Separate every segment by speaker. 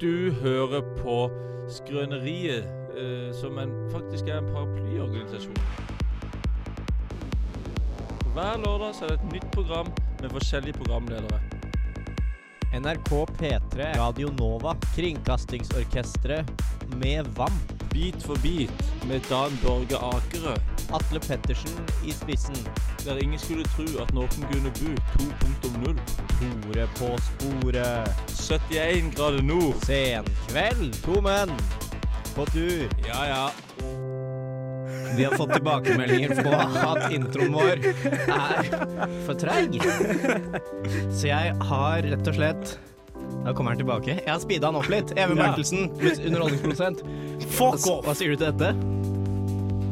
Speaker 1: Du hører på Skrøneriet, eh, som en, faktisk er en paraplyorganisasjon. Hver lørdag så er det et nytt program med forskjellige programledere.
Speaker 2: NRK P3, Radio Nova, Kringkastingsorkestret med VAMP.
Speaker 1: Bit for bit med Dan Børge Akerø,
Speaker 2: Atle Pettersen i spissen.
Speaker 1: der ingen skulle tro at noen kunne bo 2.0.
Speaker 2: Tore på sporet.
Speaker 1: 71 grader nord.
Speaker 2: Senkveld. To menn på tur.
Speaker 1: Ja, ja.
Speaker 2: Vi har fått tilbakemeldinger på at introen vår er for treig. Så jeg har rett og slett Da kommer han tilbake. Jeg har speeda han opp litt. Even
Speaker 1: Ja.
Speaker 2: Bertelsen, underholdningsprodusent. Fuck off! Hva sier du til dette?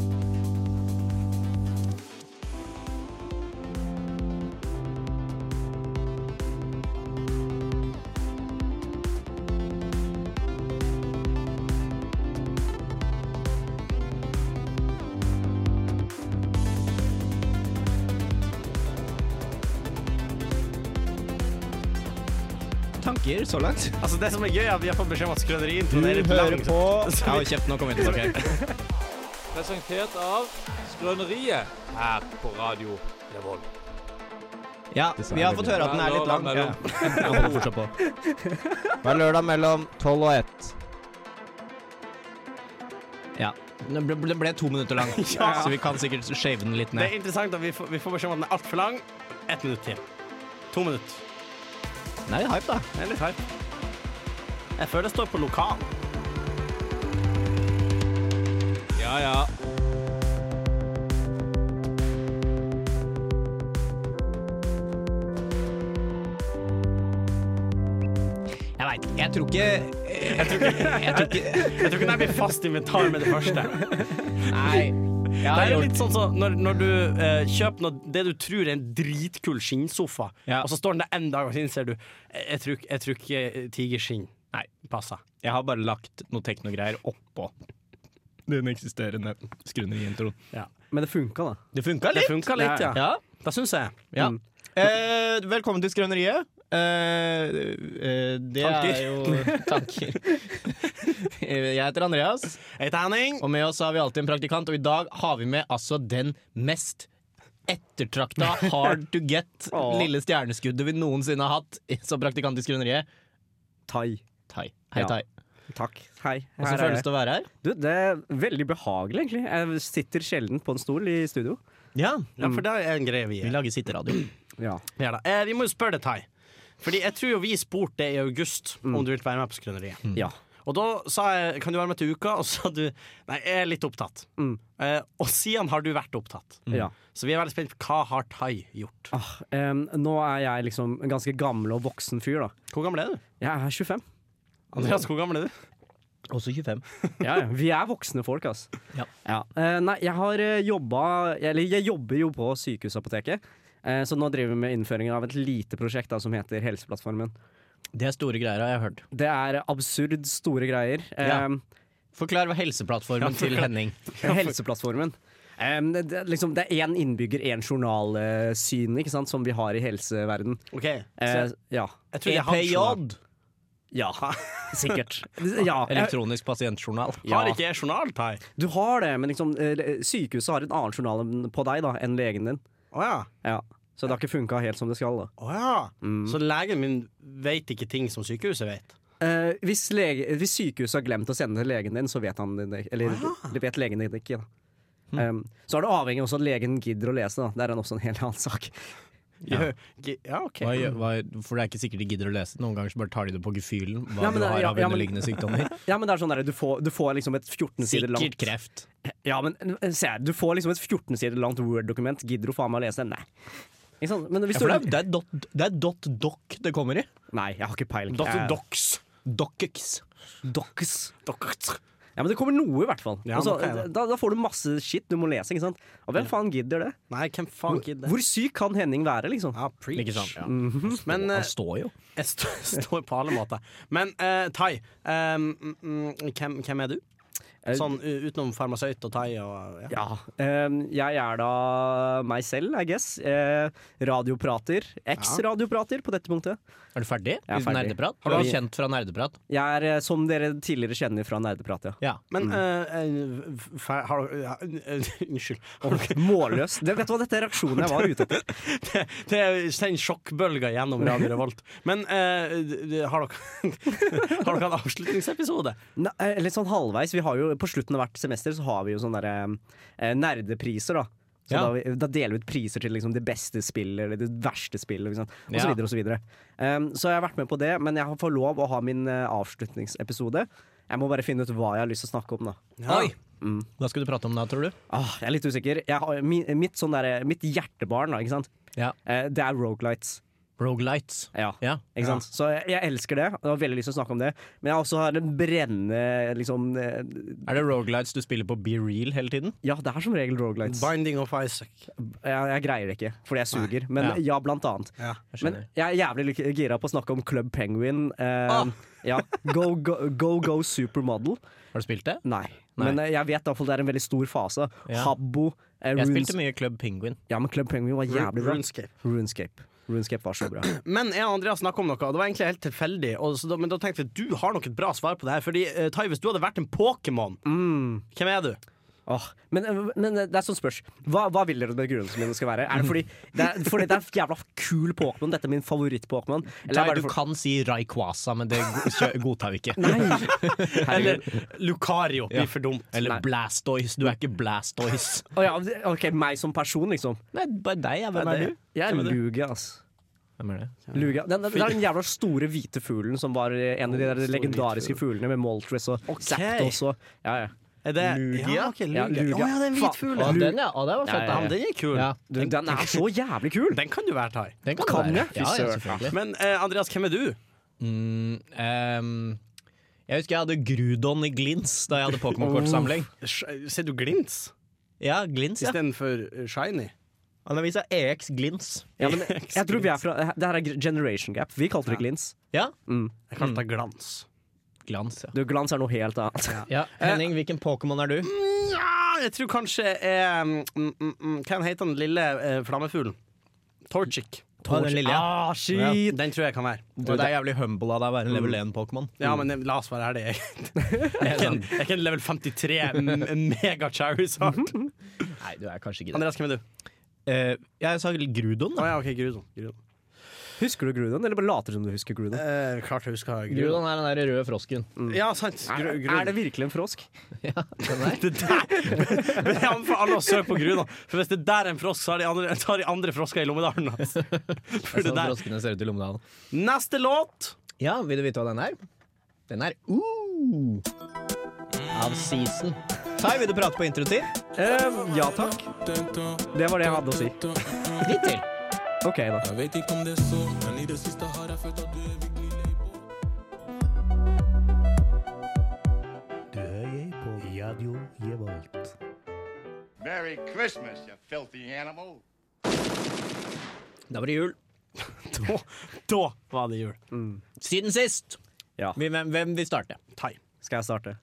Speaker 2: Tanker så langt?
Speaker 3: Altså Det som er gøy, er at vi har fått beskjed om at skrøneri
Speaker 2: Du
Speaker 3: introduserer et
Speaker 2: hører
Speaker 3: langt
Speaker 2: på Jeg har kjeft, nå kommer vi tilbake.
Speaker 1: Presentert av Skrøneriet her på Radio Revolt.
Speaker 2: Ja, vi har fått høre at den er litt lang. Ja. Jeg holder fortsatt på. Hver lørdag mellom tolv og ett. Ja. Den ble, den ble to minutter lang,
Speaker 3: Ja.
Speaker 2: så vi kan sikkert shave den litt
Speaker 3: Det er
Speaker 2: ned.
Speaker 3: interessant at vi får, vi får beskjed om at den er altfor lang. Ett minutt til. To minutter.
Speaker 2: Den er litt hype, da.
Speaker 3: Det er litt feil. Jeg føler jeg står på lokal.
Speaker 1: Ja, ja.
Speaker 2: Jeg veit. Jeg tror ikke Jeg tror ikke, jeg tror ikke
Speaker 3: Jeg tror ikke den her blir fast inventar med det første.
Speaker 2: Nei. Jeg
Speaker 3: Det
Speaker 2: har
Speaker 3: er jo
Speaker 2: gjort
Speaker 3: litt sånn som når, når du eh, kjøper noe, det du tror er en dritkul skinnsofa,
Speaker 2: Ja.
Speaker 3: og så står den der en dag, og så innser du Jeg, jeg, tror, ikke- jeg tror ikke eh, tigerskinn
Speaker 2: Nei.
Speaker 3: passer.
Speaker 2: Jeg har bare lagt noe teknogreier oppå den eksisterende skrøneriintroen.
Speaker 3: Ja.
Speaker 4: Men det funka, da.
Speaker 2: Det funka
Speaker 3: Det funka litt, ja.
Speaker 2: Ja.
Speaker 3: Da syns jeg.
Speaker 2: Ja.
Speaker 3: Mm.
Speaker 2: Eh, velkommen til Skrøneriet. Eh, eh, det
Speaker 3: Tanker.
Speaker 2: er jo tanker. Eh, Jeg heter Andreas,
Speaker 3: Jeg heter Henning.
Speaker 2: og med oss har vi alltid en praktikant. Og i dag har vi med altså den mest ettertrakta hard to get
Speaker 4: Åh.
Speaker 2: lille stjerneskuddet vi noensinne har hatt som praktikant i Skrøneriet.
Speaker 4: Tai.
Speaker 2: Tai. Hei,
Speaker 4: Ja,
Speaker 2: Tai.
Speaker 4: Takk. Hei.
Speaker 2: Hvordan føles det å være her?
Speaker 4: Du, det er veldig behagelig, egentlig. Jeg sitter sjelden på en stol i studio.
Speaker 2: Ja,
Speaker 3: Ja, for det er en greie vi
Speaker 2: Vi
Speaker 3: er.
Speaker 2: lager sitteradio.
Speaker 4: Ja.
Speaker 3: Ja da. Eh, vi må jo spørre deg, Tai. Fordi jeg tror jo vi spurte deg i august om du ville være med på Skrøneriet.
Speaker 4: ja.
Speaker 3: Og da sa jeg kan du være med til uka, og så sa du nei, jeg er litt opptatt.
Speaker 4: Mm.
Speaker 3: Eh, og siden har du vært opptatt.
Speaker 4: ja.
Speaker 3: Så vi er veldig spent på hva har Tai gjort.
Speaker 4: Ah, em, nå er jeg liksom en ganske gammel og voksen fyr, da.
Speaker 3: Hvor gammel er du?
Speaker 4: Jeg er 25.
Speaker 3: Andreas, hvor gammel er du?
Speaker 2: Også 25.
Speaker 4: Ja, ja. Vi er voksne folk, altså.
Speaker 2: Ja.
Speaker 4: Eh, nei, jeg har eh, jobba Eller jeg jobber jo på sykehusapoteket. Eh, så nå driver vi med innføringen av et lite prosjekt da, som heter Helseplattformen.
Speaker 2: Det er store greier, har jeg hørt.
Speaker 4: Det er absurd store greier. Eh,
Speaker 2: Ja.
Speaker 4: Em,
Speaker 2: Forklar hva helseplattformen
Speaker 3: Ja, forklar.
Speaker 2: til Henning
Speaker 4: Helseplattformen. Em, det, det, er liksom, det er én innbygger, én journalsyn ikke sant, som vi har i helseverden.
Speaker 3: OK. Så
Speaker 4: Eh,
Speaker 3: jeg,
Speaker 4: ja.
Speaker 3: jeg tror jeg har
Speaker 2: EPJ!
Speaker 3: journal.
Speaker 4: Ja, sikkert. Ja, jeg,
Speaker 2: Elektronisk pasientjournal.
Speaker 4: Ja.
Speaker 3: Har ikke jeg journal, Tai?
Speaker 4: du har det, men liksom, eh, sykehuset har en annen journal enn- på deg da, enn legen din.
Speaker 3: Å ja.
Speaker 4: Ja. Så det har ikke funka helt som det skal. da.
Speaker 3: Å ja. Så legen min vet ikke ting som sykehuset vet?
Speaker 4: Eh, hvis, lege, hvis sykehuset har glemt å sende til legen din, så vet han det ikke. Eller det vet legen din ikke. Da.
Speaker 2: Hm.
Speaker 4: Um, så er det avhengig også at legen gidder å lese. Da. Det er en- også en helt annen sak.
Speaker 3: Ja, ja OK.
Speaker 2: Hva, gjør- hva, for det er ikke sikkert de gidder å lese. Noen ganger så bare tar de det på gefühlen. Hva
Speaker 4: Ja, men
Speaker 2: du
Speaker 4: det-
Speaker 2: har
Speaker 4: ja,
Speaker 2: av
Speaker 4: ja, men-
Speaker 2: underliggende sykdommer.
Speaker 4: Ja, men det er sånn der, du, får, du får liksom et 14 sider langt
Speaker 2: Sikkert kreft.
Speaker 4: Ja, men eh, se her, Du får liksom et 14 sider langt Word-dokument. Gidder du faen meg å lese det? Nei. Ikke sant? Men hvis
Speaker 2: Ja, for det,
Speaker 4: du
Speaker 2: er, det, er dot, det er dot doc det kommer i.
Speaker 4: Nei, jeg har ikke peiling. Eh,
Speaker 3: Dr.
Speaker 4: Jeg-
Speaker 3: Dox.
Speaker 2: Docx.
Speaker 4: Docs.
Speaker 3: Dox.
Speaker 4: Ja, men det kommer noe, i hvert fall.
Speaker 3: Ja,
Speaker 4: altså,
Speaker 3: nok er det.
Speaker 4: da, da får du masse shit du må lese. ikke sant? Og hvem faen gidder det?
Speaker 3: Nei, hvem faen gidder?
Speaker 4: Hvor syk kan Henning være, liksom?
Speaker 3: Ja, preach.
Speaker 2: Ikke sant? Ja.
Speaker 3: Men eh,
Speaker 2: Han står jo.
Speaker 3: Jeg st står på alle måter. Men eh, Tai, eh, mm, mm, hvem, hvem er du?
Speaker 4: Eh,
Speaker 3: Sånn u- utenom farmasøyt og thai og ja.
Speaker 4: Ja. ehm, jeg er da meg selv, I guess. Eh, radioprater. Eks-radioprater på dette punktet.
Speaker 2: Er du ferdig?
Speaker 4: Jeg er
Speaker 2: Uten
Speaker 4: ferdig.
Speaker 2: Nerdeprat?
Speaker 4: Har du-
Speaker 2: Har du kjent fra Nerdeprat?
Speaker 4: Jeg er, eh, som dere tidligere kjenner fra Nerdeprat, ja.
Speaker 2: Ja.
Speaker 3: Men eh, eh, f- har du ja, eh, Unnskyld.
Speaker 4: Målløs. Det, vet du hva, dette er reaksjonen jeg var ute etter.
Speaker 3: Det er send sjokkbølger gjennom Radio Revolt. Men eh, d- d- har dere Har dere en avslutningsepisode?
Speaker 4: Ne eh, litt sånn halvveis. Vi har jo, på slutten av hvert semester så har vi jo sånne der, eh, nerdepriser, da. Så
Speaker 2: Ja.
Speaker 4: da, vi, da deler vi ut priser til liksom, det beste spillet eller det verste spillet, liksom, og så
Speaker 2: Ja.
Speaker 4: videre og så videre. Ehm, så jeg har vært med på det, men jeg får lov å ha min eh, avslutningsepisode. Jeg må bare finne ut hva jeg har lyst til å snakke om, da.
Speaker 3: Ja.
Speaker 2: Oi! Hva skal du prate om da, tror du?
Speaker 4: Ah, jeg er litt usikker. Jeg har, mi, mitt, sånn derre- mitt hjertebarn, da, ikke sant?
Speaker 2: Ja.
Speaker 4: Eh, det er Rogalights.
Speaker 2: Rogelights.
Speaker 4: Ja.
Speaker 2: Ja.
Speaker 4: Ikke sant? Så jeg, jeg elsker det, og jeg har veldig lyst til å snakke om det. Men jeg også har en brennende liksom, eh,
Speaker 2: Er det Rogelights du spiller på Be Real hele tiden?
Speaker 4: Ja, det er som regel Rogalights.
Speaker 3: Binding of Isaac.
Speaker 4: Jeg, jeg greier det ikke, fordi jeg suger. Men
Speaker 2: Ja.
Speaker 4: ja, blant annet.
Speaker 3: Ja.
Speaker 2: Jeg
Speaker 4: Men
Speaker 2: skjønner.
Speaker 4: jeg er jævlig lykke- gira på å snakke om Club Penguin. Eh,
Speaker 2: Ah!
Speaker 4: ja. go, go, go Go Supermodel.
Speaker 2: Har du spilt det?
Speaker 4: Nei.
Speaker 2: Nei.
Speaker 4: Men eh, jeg vet iallfall det er en veldig stor fase.
Speaker 2: Ja.
Speaker 4: Habbo. Eh,
Speaker 2: Jeg
Speaker 4: Runes-
Speaker 2: spilte mye Club Penguin.
Speaker 4: Ja, men Club Penguin var jævlig bra.
Speaker 3: Runescape.
Speaker 4: Runescape. Runescape var så bra.
Speaker 3: Men jeg og Andreas snakka om noe, og det var egentlig helt tilfeldig. Og så, da- men da tenkte jeg du har nok et bra svar på det her. Fordi eh, Tai, hvis du hadde vært en Pokémon, hvem er du?
Speaker 4: Åh, men, men det er sånn spørs. Hva, hva vil dere at begrunnelsen min skal være? Er det fordi det er, fordi det er jævla kul Pokémon? Dette er min favoritt-Pokémon? Eller
Speaker 2: Nei,
Speaker 4: er det
Speaker 2: du
Speaker 4: for-
Speaker 2: kan si Rayquaza, men det go- kjø- godtar vi ikke.
Speaker 4: Nei!
Speaker 3: Eller
Speaker 4: Herregud.
Speaker 3: Lucario. Blir for dumt.
Speaker 2: Eller
Speaker 4: Nei.
Speaker 2: Blastoise. Du er ikke Blastoise.
Speaker 4: Å ja, det- ok, meg som person, liksom.
Speaker 2: Nei, bare deg. Ja. Hvem
Speaker 3: Nei,
Speaker 2: er
Speaker 3: det-
Speaker 2: du?
Speaker 4: Jeg er
Speaker 3: Hvem er du?
Speaker 4: Lugia, ass.
Speaker 2: Hvem er det?
Speaker 4: Lugia. Den, den, det er den jævla store hvite fuglen som var eh, en av de der
Speaker 3: Stor hvit
Speaker 4: legendariske fuglene med Moltres og
Speaker 3: Ok.
Speaker 4: Zapdos og Ja, ja.
Speaker 3: Er det
Speaker 2: Lugia?
Speaker 3: Ja, ok, Lugia.
Speaker 4: Ja, Lugia.
Speaker 3: Å ja, det er en
Speaker 4: Faen.
Speaker 3: hvit fugl.
Speaker 2: Å,
Speaker 3: Ja,
Speaker 4: Lu-
Speaker 2: den, ja. Å, den var
Speaker 4: Ja,
Speaker 2: fett.
Speaker 4: ja,
Speaker 3: men den er kul.
Speaker 2: Ja,
Speaker 4: Du, den er så jævlig kul!
Speaker 3: Den kan du være, Tai.
Speaker 2: den kan,
Speaker 4: Kan
Speaker 2: du være.
Speaker 4: jeg? Fy
Speaker 2: Ja, ja,
Speaker 4: søren.
Speaker 2: selvfølgelig.
Speaker 3: Men eh, Andreas, hvem er du?
Speaker 2: Mm, ehm, jeg husker jeg hadde Grudon i glins da jeg hadde Pokémon-kortsamling.
Speaker 3: Sh- Ser du Glints
Speaker 2: Ja, glins, ja.
Speaker 3: istedenfor eh, Shiny?
Speaker 2: Han har vist seg EX glins.
Speaker 4: Ja, men jeg tror vi er fra Det her er generation gap. Vi kalte det glins.
Speaker 2: Ja.
Speaker 4: Mm.
Speaker 3: Jeg kalte deg Glans.
Speaker 2: Glans, ja.
Speaker 4: Du, glans er noe helt annet.
Speaker 2: ja. Henning, hvilken Pokémon er
Speaker 3: Mm,
Speaker 2: du?
Speaker 3: Nja, jeg tror kanskje eh, mm, mm, mm, Hva heter den lille eh, flammefuglen? Torchic.
Speaker 2: Å, den lille, ja.
Speaker 4: Ah,
Speaker 3: Ja,
Speaker 4: shit!
Speaker 3: den tror jeg kan være.
Speaker 2: Du, det er jævlig humble av deg å være en level 1-Pokémon.
Speaker 3: Ja, men eh, la oss være ærlige. Jeg er ikke en- jeg er ikke en level 53 m- mega Charizard.
Speaker 2: Mhm. Nei, du er kanskje ikke det.
Speaker 3: Andreas, hvem er du?
Speaker 2: Eh, jeg sa Grudon,
Speaker 3: Å
Speaker 2: da.
Speaker 3: ja, OK, Grudon. Grudon.
Speaker 4: Husker du Grudon, eller bare later som du husker Grudon?
Speaker 3: Eh, klart jeg husker Grudon.
Speaker 2: Grudon er den der røde frosken.
Speaker 3: Ja, sant. Gru, Grudon.
Speaker 4: Er det virkelig en frosk?
Speaker 3: det der Men jeg anbefaler alle å søke på Grudon. For hvis det der er en frosk, så har de andre, så har de andre frosker i lommedalen. Altså. For det
Speaker 2: Sånn
Speaker 3: der.
Speaker 2: froskene ser ut i lommedalen.
Speaker 3: Neste låt.
Speaker 2: Ja, vil du vite hva den er? Den er Ooh av Season. Tai, vil du prate på introtid?
Speaker 4: Eh, ja takk. Det var det jeg hadde å si.
Speaker 2: Litt til.
Speaker 4: Ok, da.
Speaker 5: Jeg vet ikke om det er så, men i det siste har jeg følt at du er virkelig lei på.
Speaker 6: Merry Christmas, you filthy animal.
Speaker 2: Da var det jul.
Speaker 3: Da, da var det jul.
Speaker 2: Mm. Siden sist.
Speaker 4: Ja.
Speaker 2: Vi- Hvem, hvem vil starte?
Speaker 3: Tai.
Speaker 4: Skal jeg starte?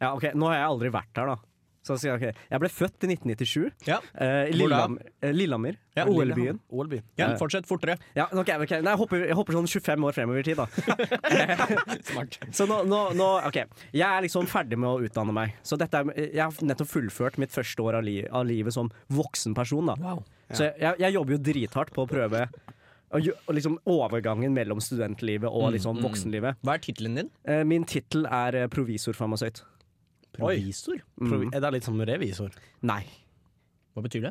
Speaker 4: Ja, ok, Nå har jeg aldri vært her, da. Så skal jeg, ok. jeg ble født i 1997.
Speaker 2: Ja.
Speaker 4: eh, i
Speaker 2: Hvor da?
Speaker 4: Lillehammer. eh, Lillehammer
Speaker 2: Ja,
Speaker 4: OL-byen.
Speaker 3: Ålby.
Speaker 2: ja, fortsett fortere.
Speaker 4: Ja, ok, ok. Nei, jeg, hopper, jeg hopper sånn 25 år fremover i tid, da.
Speaker 2: Smart.
Speaker 4: Så nå, nå, nå OK. Jeg er liksom ferdig med å utdanne meg. Så dette er, jeg har nettopp fullført mitt første år av, li, av livet som voksen person, da.
Speaker 2: Wow.
Speaker 4: Så jeg, jeg, jeg jobber jo drithardt på å prøve å gj- å liksom overgangen mellom studentlivet og
Speaker 2: Mm,
Speaker 4: liksom voksenlivet.
Speaker 2: Hva er tittelen din?
Speaker 4: Eh, Min tittel er eh, provisorfarmasøyt.
Speaker 2: Provisor?
Speaker 3: Provi- Er det litt som revisor?
Speaker 4: Nei,
Speaker 2: Hva betyr det?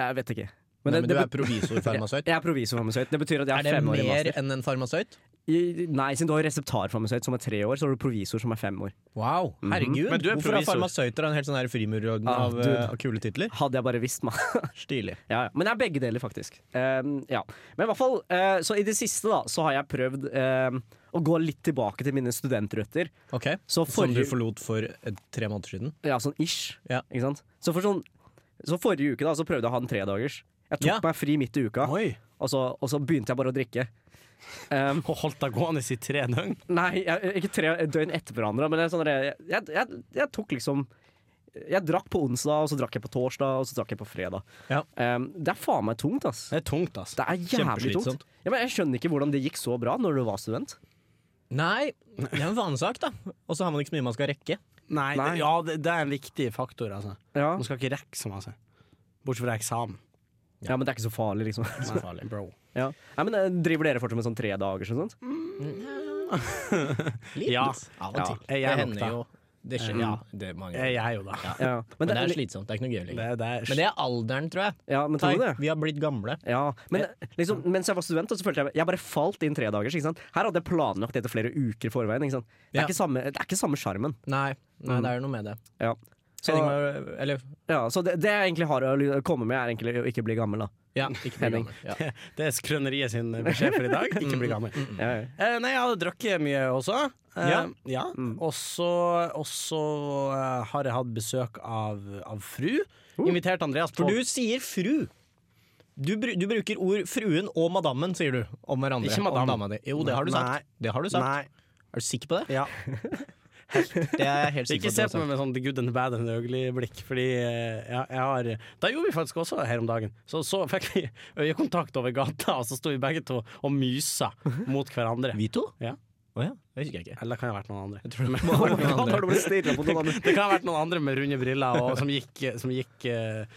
Speaker 4: jeg vet ikke.
Speaker 2: Nei,
Speaker 4: det-
Speaker 2: men Du
Speaker 4: det
Speaker 2: er provisorfarmasøyt.
Speaker 4: Jeg er provisorfarmasøyt. Det betyr at jeg
Speaker 2: Er
Speaker 4: har
Speaker 2: det
Speaker 4: fem år i
Speaker 2: mer
Speaker 4: master.
Speaker 2: enn en farmasøyt?
Speaker 4: I- Nei, siden du har reseptarfarmasøyt som er tre år, så har du provisor som er fem år.
Speaker 2: Wow, herregud.
Speaker 3: Men du er
Speaker 2: Hvorfor har
Speaker 3: provisor.
Speaker 2: farmasøyter en helt sånn her frimurorden
Speaker 4: Ah,
Speaker 2: av,
Speaker 4: dude.
Speaker 2: eh, av kule titler?
Speaker 4: Hadde jeg bare visst, mann.
Speaker 2: Stilig.
Speaker 4: ja, ja. Men det er begge deler, faktisk. Ehm, ja. Men i hvert fall, eh, så i det siste da, så har jeg prøvd ehm, å gå litt tilbake til mine studentrøtter.
Speaker 2: Ok,
Speaker 4: Så
Speaker 2: Som Sånn du
Speaker 4: forrige-
Speaker 2: forlot for eh, tre måneder siden?
Speaker 4: Ja, sånn ish.
Speaker 2: Ja.
Speaker 4: Ikke sant? Så, for sånn, så forrige uke da, så prøvde jeg å ha en tredagers. Jeg tok
Speaker 2: Ja.
Speaker 4: meg fri midt i uka,
Speaker 3: Oi.
Speaker 4: og så, og så begynte jeg bare å drikke. Ehm,
Speaker 3: Og holdt deg gående i tre døgn?
Speaker 4: nei, jeg, ikke tre døgn etter hverandre, men det er sånn, der- jeg, jeg, jeg, jeg tok liksom Jeg drakk på onsdag, og så drakk jeg på torsdag, og så drakk jeg på fredag.
Speaker 2: Ja.
Speaker 4: Um, det er faen meg tungt, ass.
Speaker 3: Det er tungt, ass.
Speaker 4: Det er jævlig
Speaker 2: Kjempeslitsomt.
Speaker 4: tungt. Ja, men jeg skjønner ikke hvordan det gikk så bra når du var student.
Speaker 2: Nei, det er en vanesak, da. Og så har man ikke så mye man skal rekke.
Speaker 3: Nei,
Speaker 4: Nei.
Speaker 3: Det, ja, det, det er en viktig faktor, altså.
Speaker 4: Ja.
Speaker 3: Man skal ikke rekke så mye. Bortsett fra eksamen.
Speaker 4: ja, men det er ikke så farlig, liksom.
Speaker 3: Det er farlig, bro.
Speaker 4: Ja. Nei, men eh, Driver dere fortsatt med sånn tre dagers og sånt?
Speaker 2: Litt.
Speaker 3: Ja.
Speaker 2: Av og til.
Speaker 3: Ja, jeg er
Speaker 2: det
Speaker 3: nok
Speaker 2: hender
Speaker 3: det.
Speaker 2: jo. Det skjer, ja, det er mange
Speaker 3: Det er
Speaker 2: ganger.
Speaker 3: jeg jo, da.
Speaker 2: Ja.
Speaker 4: Ja. Men,
Speaker 2: Men det er
Speaker 4: slitt.
Speaker 2: slitsomt. Det er ikke noe gøy lenger.
Speaker 3: Det, det er,
Speaker 2: Men det er alderen, tror jeg.
Speaker 4: Ja, men tror du det?
Speaker 2: Vi har blitt gamle.
Speaker 4: Ja, men eh, liksom, mens jeg var student, så følte jeg Jeg bare falt inn tredagers. ikke sant? Her hadde jeg planlagt dette flere uker i forveien. ikke sant? Det
Speaker 2: Ja.
Speaker 4: er ikke samme- det er ikke samme sjarmen.
Speaker 2: Nei, nei det er jo noe med det.
Speaker 3: Mm.
Speaker 4: Ja. Så,
Speaker 2: Henning var Eller,
Speaker 4: ja, så det, det jeg egentlig har å ly- komme med, er egentlig å ikke bli gammel, da.
Speaker 2: ja, ikke bli
Speaker 4: Henning.
Speaker 2: gammel. Ja.
Speaker 3: det er skrøneriet sin beskjed for i dag. Ikke bli gammel.
Speaker 4: Ja, ja.
Speaker 3: Eh, nei, jeg hadde drukket mye også. Eh, ja.
Speaker 2: Mm. Ja.
Speaker 3: Og så og så, eh, har jeg hatt besøk av, av fru. Invitert Andreas på
Speaker 2: Oh. For du sier fru. Du, bru- du bruker ord fruen og madammen, sier du, om hverandre.
Speaker 3: Ikke madam.
Speaker 2: Om dama di. Jo, det har du sagt.
Speaker 3: Nei.
Speaker 2: Det har du sagt.
Speaker 3: Nei.
Speaker 2: Er du sikker på det?
Speaker 3: Ja.
Speaker 2: Det er jeg helt
Speaker 3: Ikke
Speaker 2: sikker
Speaker 3: se
Speaker 2: på. at du
Speaker 3: på
Speaker 2: har
Speaker 3: meg med sånn the good and the bad and the ugly-blikk, fordi eh, jeg, jeg har Da gjorde vi faktisk også her om dagen. Så, så fikk vi øyekontakt over gata, og så sto vi begge to og mysa mot hverandre.
Speaker 2: sagt. Vi to?
Speaker 3: Ja.
Speaker 2: Å ja, det husker jeg ikke.
Speaker 3: Eller det kan ha vært noen andre.
Speaker 2: Jeg tror det må ha vært noen
Speaker 4: Har du
Speaker 2: andre.
Speaker 4: blitt stirret på noen andre?
Speaker 3: Det kan ha vært noen andre med runde briller og, som gikk, som gikk eh,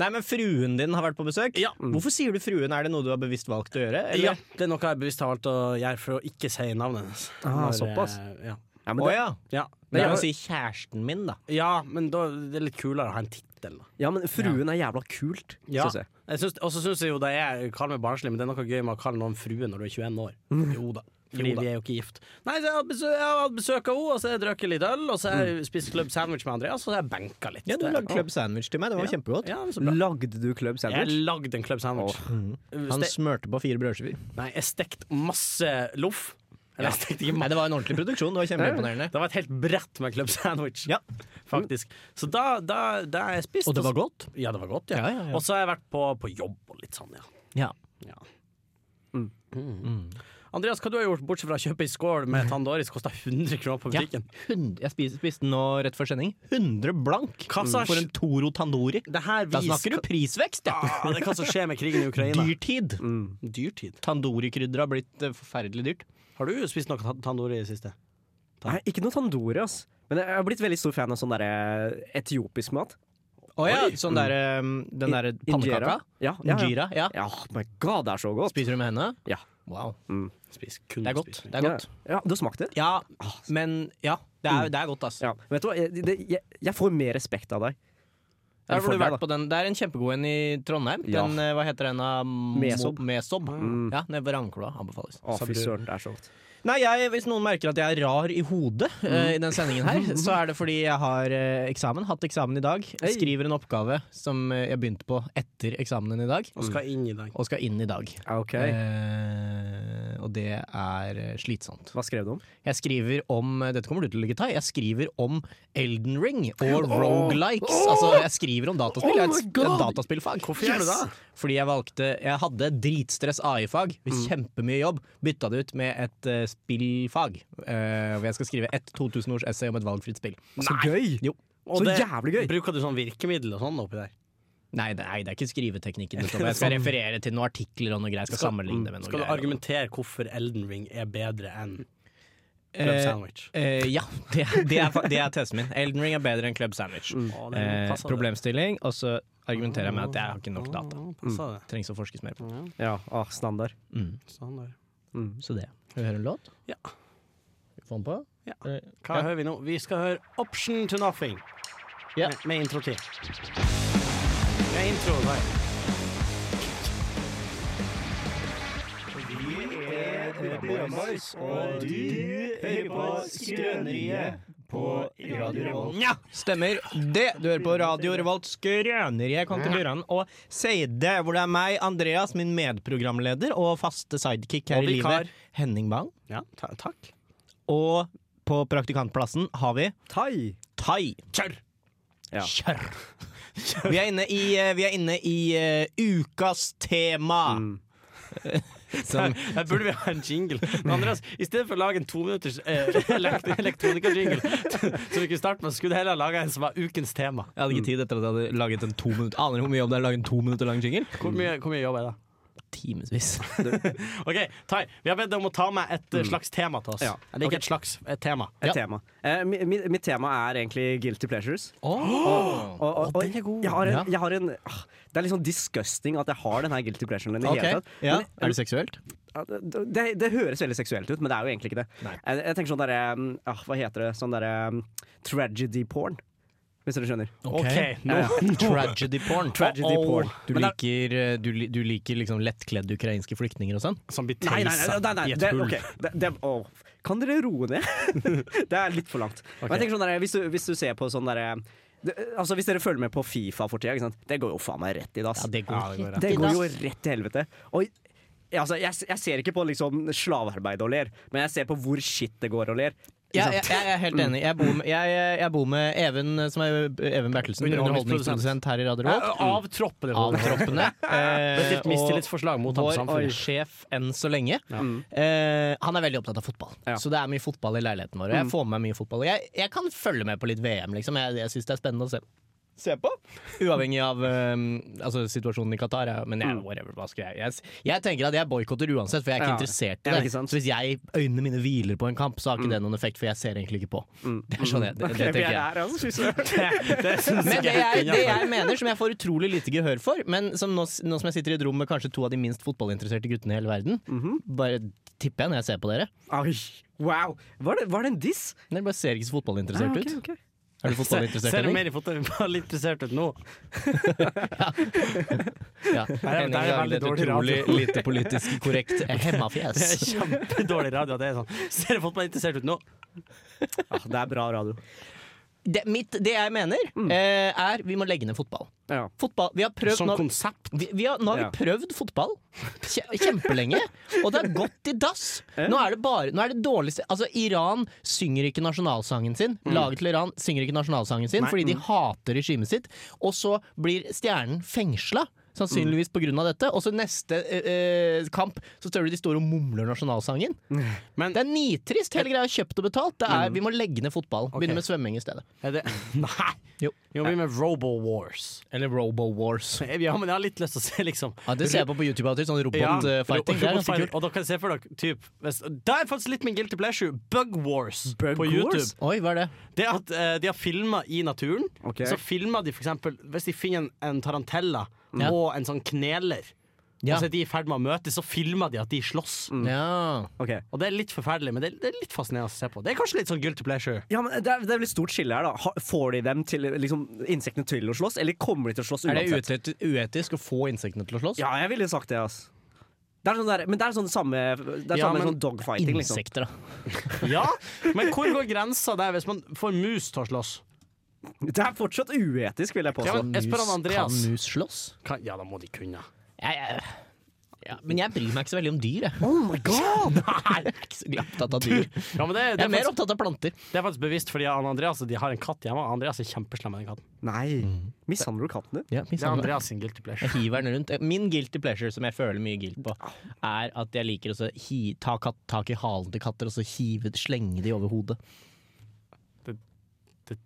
Speaker 2: Nei, men fruen din har vært på besøk.
Speaker 3: Ja.
Speaker 2: Hvorfor sier du fruen? Er det noe du har bevisst valgt å gjøre?
Speaker 3: Ja,
Speaker 2: Eller?
Speaker 3: det er noe jeg bevisst har valgt å gjøre for å ikke si navnet hennes.
Speaker 4: Ah,
Speaker 3: Når,
Speaker 4: såpass.
Speaker 3: eh, Ja.
Speaker 4: Ja, men
Speaker 2: Å
Speaker 4: det,
Speaker 2: ja.
Speaker 3: Ja.
Speaker 2: Men jeg
Speaker 4: Ja.
Speaker 2: må si kjæresten min, da.
Speaker 3: ja, men da det er det litt kulere å ha en tittel, da.
Speaker 4: ja, men fruen er jævla kult,
Speaker 3: Ja.
Speaker 4: syns jeg.
Speaker 3: Jeg syns- Og så syns jeg jo det er Kall meg barnslig, men det er noe gøy med å kalle noen frue når du er 21 år.
Speaker 2: Mm.
Speaker 3: Jo da. Fordi
Speaker 4: Jo da.
Speaker 3: vi er jo ikke gift. Nei, så jeg har hatt besøk, jeg har hatt besøk av henne, og så har jeg drukket litt øl, og så har jeg spist club sandwich med Andreas, og så har jeg benka litt.
Speaker 2: Mm. Ja, du
Speaker 3: Det-
Speaker 2: lagde club sandwich til meg. Det var kjempegodt.
Speaker 3: Ja, men så bra.
Speaker 4: Lagde du club
Speaker 3: Jeg
Speaker 4: sandwich?
Speaker 3: lagde en club sandwich.
Speaker 2: mm. Han
Speaker 3: Ste
Speaker 2: smørte på fire brødskiver.
Speaker 3: nei, jeg stekte masse loff. Eller jeg stekte ikke
Speaker 2: Nei, det var en ordentlig produksjon. Det var kjempeimponerende.
Speaker 3: Det var et helt brett med club sandwich,
Speaker 2: Ja. Mm.
Speaker 3: faktisk. Så da, da, da har jeg spist.
Speaker 2: Og det var
Speaker 3: så-
Speaker 2: godt.
Speaker 3: Ja, det var godt, ja.
Speaker 2: Ja, ja, ja.
Speaker 3: Og så har jeg vært på, på jobb og litt sånn, ja.
Speaker 2: Ja.
Speaker 3: ja. Mm. Andreas, hva du har gjort bortsett fra å kjøpe ei skål med Tandoris kosta 100 kroner på
Speaker 2: Ja,
Speaker 3: butikken?
Speaker 2: 100, jeg spiste, spiste nå rett før sending 100 blank
Speaker 3: Kassasj.
Speaker 2: for en Toro Tandori.
Speaker 3: Det her
Speaker 2: Da snakker du prisvekst, ja!
Speaker 3: ah, Det er hva som skjer med krigen i Ukraina.
Speaker 2: Dyrtid.
Speaker 3: Dyrtid.
Speaker 2: Tandori-krydder har blitt eh, forferdelig dyrt.
Speaker 3: Har du spist noe ta- Tandori i det siste?
Speaker 4: Nei, ikke noe tandori, ass. Men jeg har blitt veldig stor fan av sånn derre etiopisk mat.
Speaker 2: Å ja, sånn der, eh, den derre pannekaka.
Speaker 4: Injera. Ja, ja, ja.
Speaker 2: Injera. Ja.
Speaker 4: ja, my god, det er så godt.
Speaker 2: Spiser du med henne?
Speaker 4: Ja.
Speaker 2: Wow.
Speaker 3: Spis kun
Speaker 2: Det er godt.
Speaker 3: spisning.
Speaker 2: Det er godt.
Speaker 4: Ja, ja, du smakte?
Speaker 2: Ja, men Ja, det er, det er godt, ass.
Speaker 4: Ja. Vet du hva, jeg, det, jeg, jeg får mer respekt av deg.
Speaker 2: Der
Speaker 4: for
Speaker 2: har du
Speaker 4: deg,
Speaker 2: vært på den. Det er en kjempegod en i Trondheim.
Speaker 4: Ja.
Speaker 2: Den, eh, hva heter den? da? Mo-
Speaker 4: Mesob.
Speaker 2: Mesob. Ja, Nede ved Ravnkloa. Anbefales.
Speaker 4: Å, fy søren, det er så godt.
Speaker 2: Nei, jeg, Hvis noen merker at jeg er rar i hodet
Speaker 4: Mm.
Speaker 2: eh, i den sendingen her, så er det fordi jeg har eh, eksamen. Hatt eksamen i dag.
Speaker 4: Hei.
Speaker 2: Skriver en oppgave som eh, jeg begynte på etter eksamenen i dag,
Speaker 3: Og skal inn i dag.
Speaker 2: og skal inn i dag.
Speaker 4: Ok,
Speaker 2: Eh, og det er eh, slitsomt.
Speaker 4: Hva skrev du om?
Speaker 2: Jeg skriver om Dette kommer du til å legge ta i. Jeg skriver om Elden Ring og rogelikes. Altså, jeg skriver om
Speaker 3: Oh
Speaker 2: dataspill. Jeg har et, et dataspillfag. Hvorfor
Speaker 3: gjør du det? Mm.
Speaker 2: Fordi jeg valgte Jeg hadde dritstress AI-fag. Kjempemye jobb. Bytta det ut med et eh, spillfag. eh, hvor jeg skal skrive et 2000 ords essay om et valgfritt spill.
Speaker 4: Så gøy!
Speaker 2: Jo.
Speaker 3: Og
Speaker 4: Så
Speaker 3: det-
Speaker 4: jævlig gøy!
Speaker 3: Bruker du sånn virkemiddel og sånn oppi der?
Speaker 2: Nei, det, nei, det er ikke skriveteknikken. utover. Jeg skal referere til noen artikler og noe greier. Jeg skal, sammenligne det med noe
Speaker 3: Sånn. Skal du
Speaker 2: greier.
Speaker 3: argumentere hvorfor Elden Ring er bedre enn Club
Speaker 2: Eh,
Speaker 3: Sandwich?
Speaker 2: Eh, ja, det, det, er, fa- det er tesen min. Elden Ring er bedre enn Club Sandwich.
Speaker 3: Å, det
Speaker 2: Eh,
Speaker 3: passer det.
Speaker 2: problemstilling, og så argumenterer jeg med at jeg har ikke
Speaker 3: Ah.
Speaker 2: nok data. Mm.
Speaker 3: Ja, passer det.
Speaker 2: Trengs å forskes mer på.
Speaker 3: Mm.
Speaker 4: Ja, å, standard.
Speaker 3: Sånn der.
Speaker 2: Så det. Skal vi høre en låt?
Speaker 3: Ja.
Speaker 2: Få den på?
Speaker 3: Ja.
Speaker 2: Eh,
Speaker 3: Hva hører vi nå? Vi skal høre 'Option to Nothing'
Speaker 2: Ja.
Speaker 3: med, med intro til. Det er intro der.
Speaker 2: Ja, stemmer det. Du hører på Radio Revolt Skrøneriet, Kontinuran og Seide, hvor det er meg, Andreas, min medprogramleder og faste sidekick her
Speaker 3: Og
Speaker 2: i
Speaker 3: vikar.
Speaker 2: livet, Henning Bang.
Speaker 3: Ja, ta takk.
Speaker 2: Og på praktikantplassen har vi
Speaker 4: Tai!
Speaker 2: Tai.
Speaker 3: Kjør!
Speaker 4: Ja.
Speaker 2: Kjør!
Speaker 3: Mm.
Speaker 2: Vi er inne i, eh, vi er inne i eh, ukas tema. Som,
Speaker 3: Der burde vi ha en jingle. Men Andreas, i stedet for å lage en tominutters eh, elekt elektronikajingle, som vi kunne starte med, så skulle du heller laga en som var ukens tema.
Speaker 2: jeg hadde ikke tid etter at jeg hadde laget en to minutter Aner du hvor mye jobb det er å lage en to minutter lang jingle?
Speaker 3: Hvor mye, hvor mye jobb er det?
Speaker 2: Timevis.
Speaker 3: OK, Tai, vi har bedt deg om å ta med et eh, slags tema til oss.
Speaker 4: Ja.
Speaker 3: Eller ikke
Speaker 4: Ok.
Speaker 3: et slags, et tema.
Speaker 4: Et tema. Eh, mi- mi- mitt tema er egentlig guilty pleasures.
Speaker 2: Oh.
Speaker 4: Og, og, og
Speaker 2: den er god.
Speaker 4: Jeg har en,
Speaker 2: Ja.
Speaker 4: jeg har en ah, Det er litt sånn disgusting at jeg har den her guilty pleasuren. i det hele
Speaker 2: Ok,
Speaker 4: tatt.
Speaker 2: ja.
Speaker 4: Men-
Speaker 2: Er det seksuelt?
Speaker 4: Ja, det, det, det høres veldig seksuelt ut, men det er jo egentlig ikke det. Jeg, jeg tenker sånn derre mm, ah, Hva heter det? Sånn derre mm, tragedy porn. Hvis dere skjønner.
Speaker 3: OK, nå
Speaker 4: Ja,
Speaker 2: Tragedy porn.
Speaker 4: Tragedy porn.
Speaker 2: Du
Speaker 4: Men det-
Speaker 2: liker, eh, du, li- du liker liksom lettkledde ukrainske flyktninger og sånn?
Speaker 3: Som blir
Speaker 4: Nei, nei, nei,
Speaker 3: teisa
Speaker 4: nei, nei
Speaker 3: i et
Speaker 4: det,
Speaker 3: hull.
Speaker 4: ok, det, det, å, Kan dere roe ned? det er litt for langt. Men jeg tenker sånn der, hvis, du, hvis du ser på sånn derre det- Altså Hvis dere følger med på Fifa for tida, ikke sant? det går jo faen meg rett i dass.
Speaker 2: Ja, det går. Ja,
Speaker 4: det går jo rett til helvete. Og ja, altså, jeg, jeg ser ikke på liksom slavearbeid og ler, men jeg ser på hvor shit det går og ler.
Speaker 2: jeg, jeg, jeg er helt enig. Jeg bor med, jeg, eh, jeg jeg bor med Even, eh, som er eh, Even Bertelsen,
Speaker 3: Underholdningsprodusent.
Speaker 2: underholdningsprodusent her i Radio
Speaker 3: Ja,
Speaker 2: Revolt.
Speaker 3: Av troppene.
Speaker 2: Av troppene. Eh,
Speaker 3: Bestilt mistillitsforslag mot ham på
Speaker 2: vår
Speaker 3: samfunnet.
Speaker 2: sjef enn så lenge.
Speaker 4: Mm.
Speaker 2: Eh, han er veldig opptatt av fotball,
Speaker 4: Ja.
Speaker 2: så det er mye fotball i leiligheten vår. Og jeg får med meg mye fotball. Og Jeg, jeg kan følge med på litt VM, liksom. Jeg, jeg syns det er spennende å se. Se på Uavhengig av eh, altså, situasjonen i Qatar. Ja. Men jeg, whatever, hva skal jeg Jeg, jeg tenker at jeg boikotter uansett, for jeg er ikke
Speaker 4: Mm. Ja.
Speaker 2: interessert
Speaker 4: Ja,
Speaker 2: i det.
Speaker 4: ikke sant? Mm.
Speaker 2: så hvis jeg øynene mine hviler på en kamp, så har ikke det noen effekt, for jeg ser egentlig ikke på. Det er sånn jeg, det, det
Speaker 4: Vi
Speaker 2: tenker
Speaker 4: er
Speaker 2: jeg.
Speaker 4: der, altså.
Speaker 2: Men det jeg, det jeg mener, som jeg får utrolig lite gehør for, men som nå, nå som jeg sitter i et rom med kanskje to av de minst fotballinteresserte guttene i hele verden,
Speaker 3: Mhm.
Speaker 2: bare tipper jeg når jeg ser på dere.
Speaker 4: Oi, wow! Var det, var det en diss?
Speaker 2: Dere bare ser ikke så fotballinteressert
Speaker 4: Ah, ok,
Speaker 2: ut.
Speaker 4: ok.
Speaker 2: Er du
Speaker 3: Ser
Speaker 2: fotballinteressert,
Speaker 3: ser du
Speaker 2: Henning?
Speaker 3: mer i fotball interessert ut nå?
Speaker 2: Ja.
Speaker 3: er
Speaker 2: Henning
Speaker 3: veldig
Speaker 2: lager et
Speaker 3: dårlig
Speaker 2: utrolig
Speaker 3: radio.
Speaker 2: lite politisk korrekt
Speaker 3: Det er
Speaker 2: hemmafjes.
Speaker 3: kjempedårlig radio. at Det er sånn. Ser du fotball interessert ut nå?
Speaker 4: Ja, Ah, det er bra radio.
Speaker 2: Det, mitt, det jeg mener,
Speaker 3: Mm.
Speaker 2: eh, er vi må legge ned fotball.
Speaker 4: Ja.
Speaker 2: Fotball, vi har prøvd
Speaker 3: Som
Speaker 2: nå-
Speaker 3: konsept.
Speaker 2: Vi, vi har, nå har
Speaker 4: Ja.
Speaker 2: vi prøvd fotball kje- kjempelenge, og det har gått i dass. Nå er det bare Nå er det dårligste Altså, Iran synger ikke nasjonalsangen sin.
Speaker 3: Mm.
Speaker 2: Laget til Iran synger ikke nasjonalsangen sin fordi de hater regimet sitt. Og så blir stjernen fengsla.
Speaker 3: Mm.
Speaker 2: Sannsynligvis pga. dette. Og så neste eh, eh, kamp så står de store og mumler nasjonalsangen.
Speaker 3: Men-
Speaker 2: det er nitrist. Hele greia er kjøpt og betalt. Det
Speaker 3: Mm.
Speaker 2: er, vi må legge ned fotball. Begynne med svømming i stedet.
Speaker 3: Er det? Nei!
Speaker 2: Jo.
Speaker 3: Vi må bli med Robo Wars.
Speaker 2: Eller Robo Wars.
Speaker 3: Ja, men jeg har litt lyst til å se, liksom.
Speaker 2: Ja, det ser jeg på på YouTube. alltid, Sånn robotfighting. det er ganske kult.
Speaker 3: Og dere kan se for dere typ, hvis, Der er faktisk litt min guilty pleasure. Bug Wars
Speaker 4: Bug
Speaker 3: på YouTube.
Speaker 4: Wars?
Speaker 2: Oi, hva er det?
Speaker 3: Det at eh, de har filma i naturen.
Speaker 4: Ok.
Speaker 3: Så filmer de f.eks. hvis de finner en, en tarantella
Speaker 2: Ja.
Speaker 3: og en sånn kneler,
Speaker 2: Ja.
Speaker 3: og så er de i ferd med å møtes, så filmer de at de slåss.
Speaker 2: Mm. Ja.
Speaker 4: Ok.
Speaker 3: Og det er litt forferdelig, men det er, det er litt fascinerende å se på. Det er kanskje litt sånn guilty pleasure.
Speaker 4: Ja, men det er, det er vel et stort skille her, da. Ha- Får de dem til, liksom, insektene til å slåss, eller kommer de til å slåss
Speaker 2: Er det
Speaker 4: uansett?
Speaker 2: uetisk, uetisk å få insektene til å slåss?
Speaker 4: Ja, jeg ville sagt det, ass. Det er sånn der, men det er sånn samme Det er
Speaker 3: Ja,
Speaker 4: samme
Speaker 3: men
Speaker 4: sånn dogfighting, liksom.
Speaker 2: Insekter, da.
Speaker 3: Ja, men hvor går grensa der hvis man får mus til å slåss?
Speaker 4: Det er fortsatt uetisk, vil jeg påstå.
Speaker 3: Ja, men- Jeg spør han Andreas.
Speaker 2: Kan mus slåss?
Speaker 3: Kan, ja, da må de kunne.
Speaker 2: Jeg, jeg, ja, men jeg bryr meg ikke så veldig om dyr, jeg.
Speaker 4: Oh my god!
Speaker 2: Nei, jeg er ikke så opptatt av dyr.
Speaker 3: Ja, men det, det,
Speaker 2: Jeg
Speaker 3: er
Speaker 2: er mer
Speaker 3: faktisk,
Speaker 2: opptatt av planter.
Speaker 3: det er faktisk bevisst, fordi han Andreas de har en katt hjemme. og Andreas er kjempeslem med den katten.
Speaker 4: Nei. Mishandler du katten din?
Speaker 2: Ja,
Speaker 3: Det er Andreas sin guilty
Speaker 2: jeg
Speaker 3: pleasure.
Speaker 2: hiver den rundt. Min guilty pleasure, som jeg føler mye guilt på, er at jeg liker å så hi, ta katt, tak i halen til katter og så hive, slenge de over hodet.
Speaker 3: Det- det-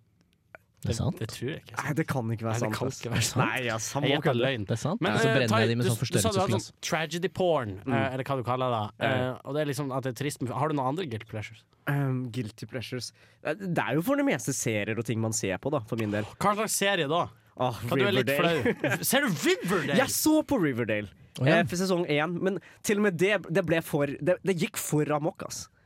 Speaker 2: Det er sant?
Speaker 3: Det tror jeg ikke.
Speaker 4: Nei, det kan
Speaker 3: Nei,
Speaker 4: ikke være
Speaker 3: det
Speaker 4: sant.
Speaker 3: kan
Speaker 4: ass.
Speaker 3: ikke være sant.
Speaker 4: Nei, ass, han
Speaker 3: Jeg
Speaker 4: må
Speaker 3: gjetter
Speaker 4: kødde.
Speaker 3: lønn.
Speaker 2: Det er sant?
Speaker 3: Men,
Speaker 2: og
Speaker 4: Altså,
Speaker 2: så
Speaker 3: eh,
Speaker 2: brenner
Speaker 3: Tai,
Speaker 2: jeg de med
Speaker 3: du-
Speaker 2: sånn
Speaker 3: Du sa du hadde
Speaker 2: forstørrelsesglass.
Speaker 3: sånn tragedy porn, eh,
Speaker 4: Mm.
Speaker 3: eller hva du kaller det. da. Eh, og det er liksom at det er trist, men har du noen andre guilty pleasures?
Speaker 4: Um, guilty pleasures. Det er jo for det meste serier og ting man ser på, da, for min del.
Speaker 3: Hva slags serie da?
Speaker 4: Ah,
Speaker 3: Kan du være litt
Speaker 4: Riverdale.
Speaker 3: flau? Ser du Riverdale?
Speaker 4: Jeg så på Riverdale
Speaker 2: Å, ja.
Speaker 4: eh, for sesong én, men til og med det, det ble for Det, det gikk for amok, ass.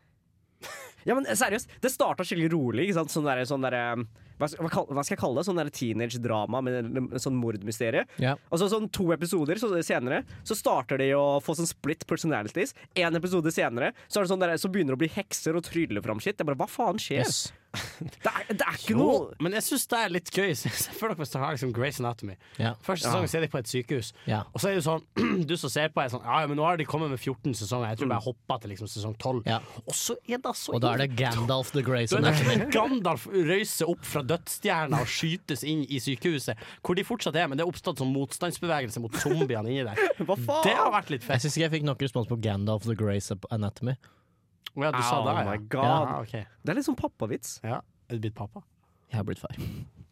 Speaker 4: Ja, men eh, seriøst, det starta skikkelig rolig. Ikke sant? Sånn derre sånn der, eh, hva, skal- hva kall- hva skal jeg kalle det? Sånn der teenage-drama med en- en sånn mordmysterie.
Speaker 2: Ja.
Speaker 4: Og så sånn to episoder så, senere Så starter de å få sånn split personalities. Én episode senere så, er det sånn der, så begynner det å bli hekser og trylle fram shit. Jeg bare, hva faen skjer?
Speaker 2: Yes.
Speaker 4: Det er, det er ikke
Speaker 3: Jo,
Speaker 4: noe
Speaker 3: men jeg syns det er litt gøy. Så jeg føler dere hvis dere har liksom Grace Anatomy.
Speaker 2: Ja.
Speaker 3: Første sesong ser de på et sykehus,
Speaker 2: Ja.
Speaker 3: og så er det sånn Du som ser på, er sånn Ja, ja, men nå har de kommet med 14 sesonger, jeg tror bare jeg hoppa til liksom sesong 12.
Speaker 2: Mm. Ja.
Speaker 3: Og så er det så
Speaker 2: Og da er det Gandalf the Grey
Speaker 3: Da
Speaker 2: som
Speaker 3: er
Speaker 2: er
Speaker 3: det Gandalf røyser opp fra dødsstjerna og skytes inn i sykehuset, hvor de fortsatt er, men det er oppstått sånn motstandsbevegelse mot zombiene inni der.
Speaker 4: Hva faen?
Speaker 3: Det har vært litt
Speaker 2: Jeg
Speaker 3: fett.
Speaker 2: syns ikke jeg fikk nok respons på Gandalf the Grey Anatomy.
Speaker 3: Å Ja, du sa
Speaker 4: Oh
Speaker 3: det, ja.
Speaker 4: my god.
Speaker 3: Ja, ok.
Speaker 4: Det er litt sånn pappavits.
Speaker 3: ja. Er du blitt pappa?
Speaker 2: Jeg har blitt far.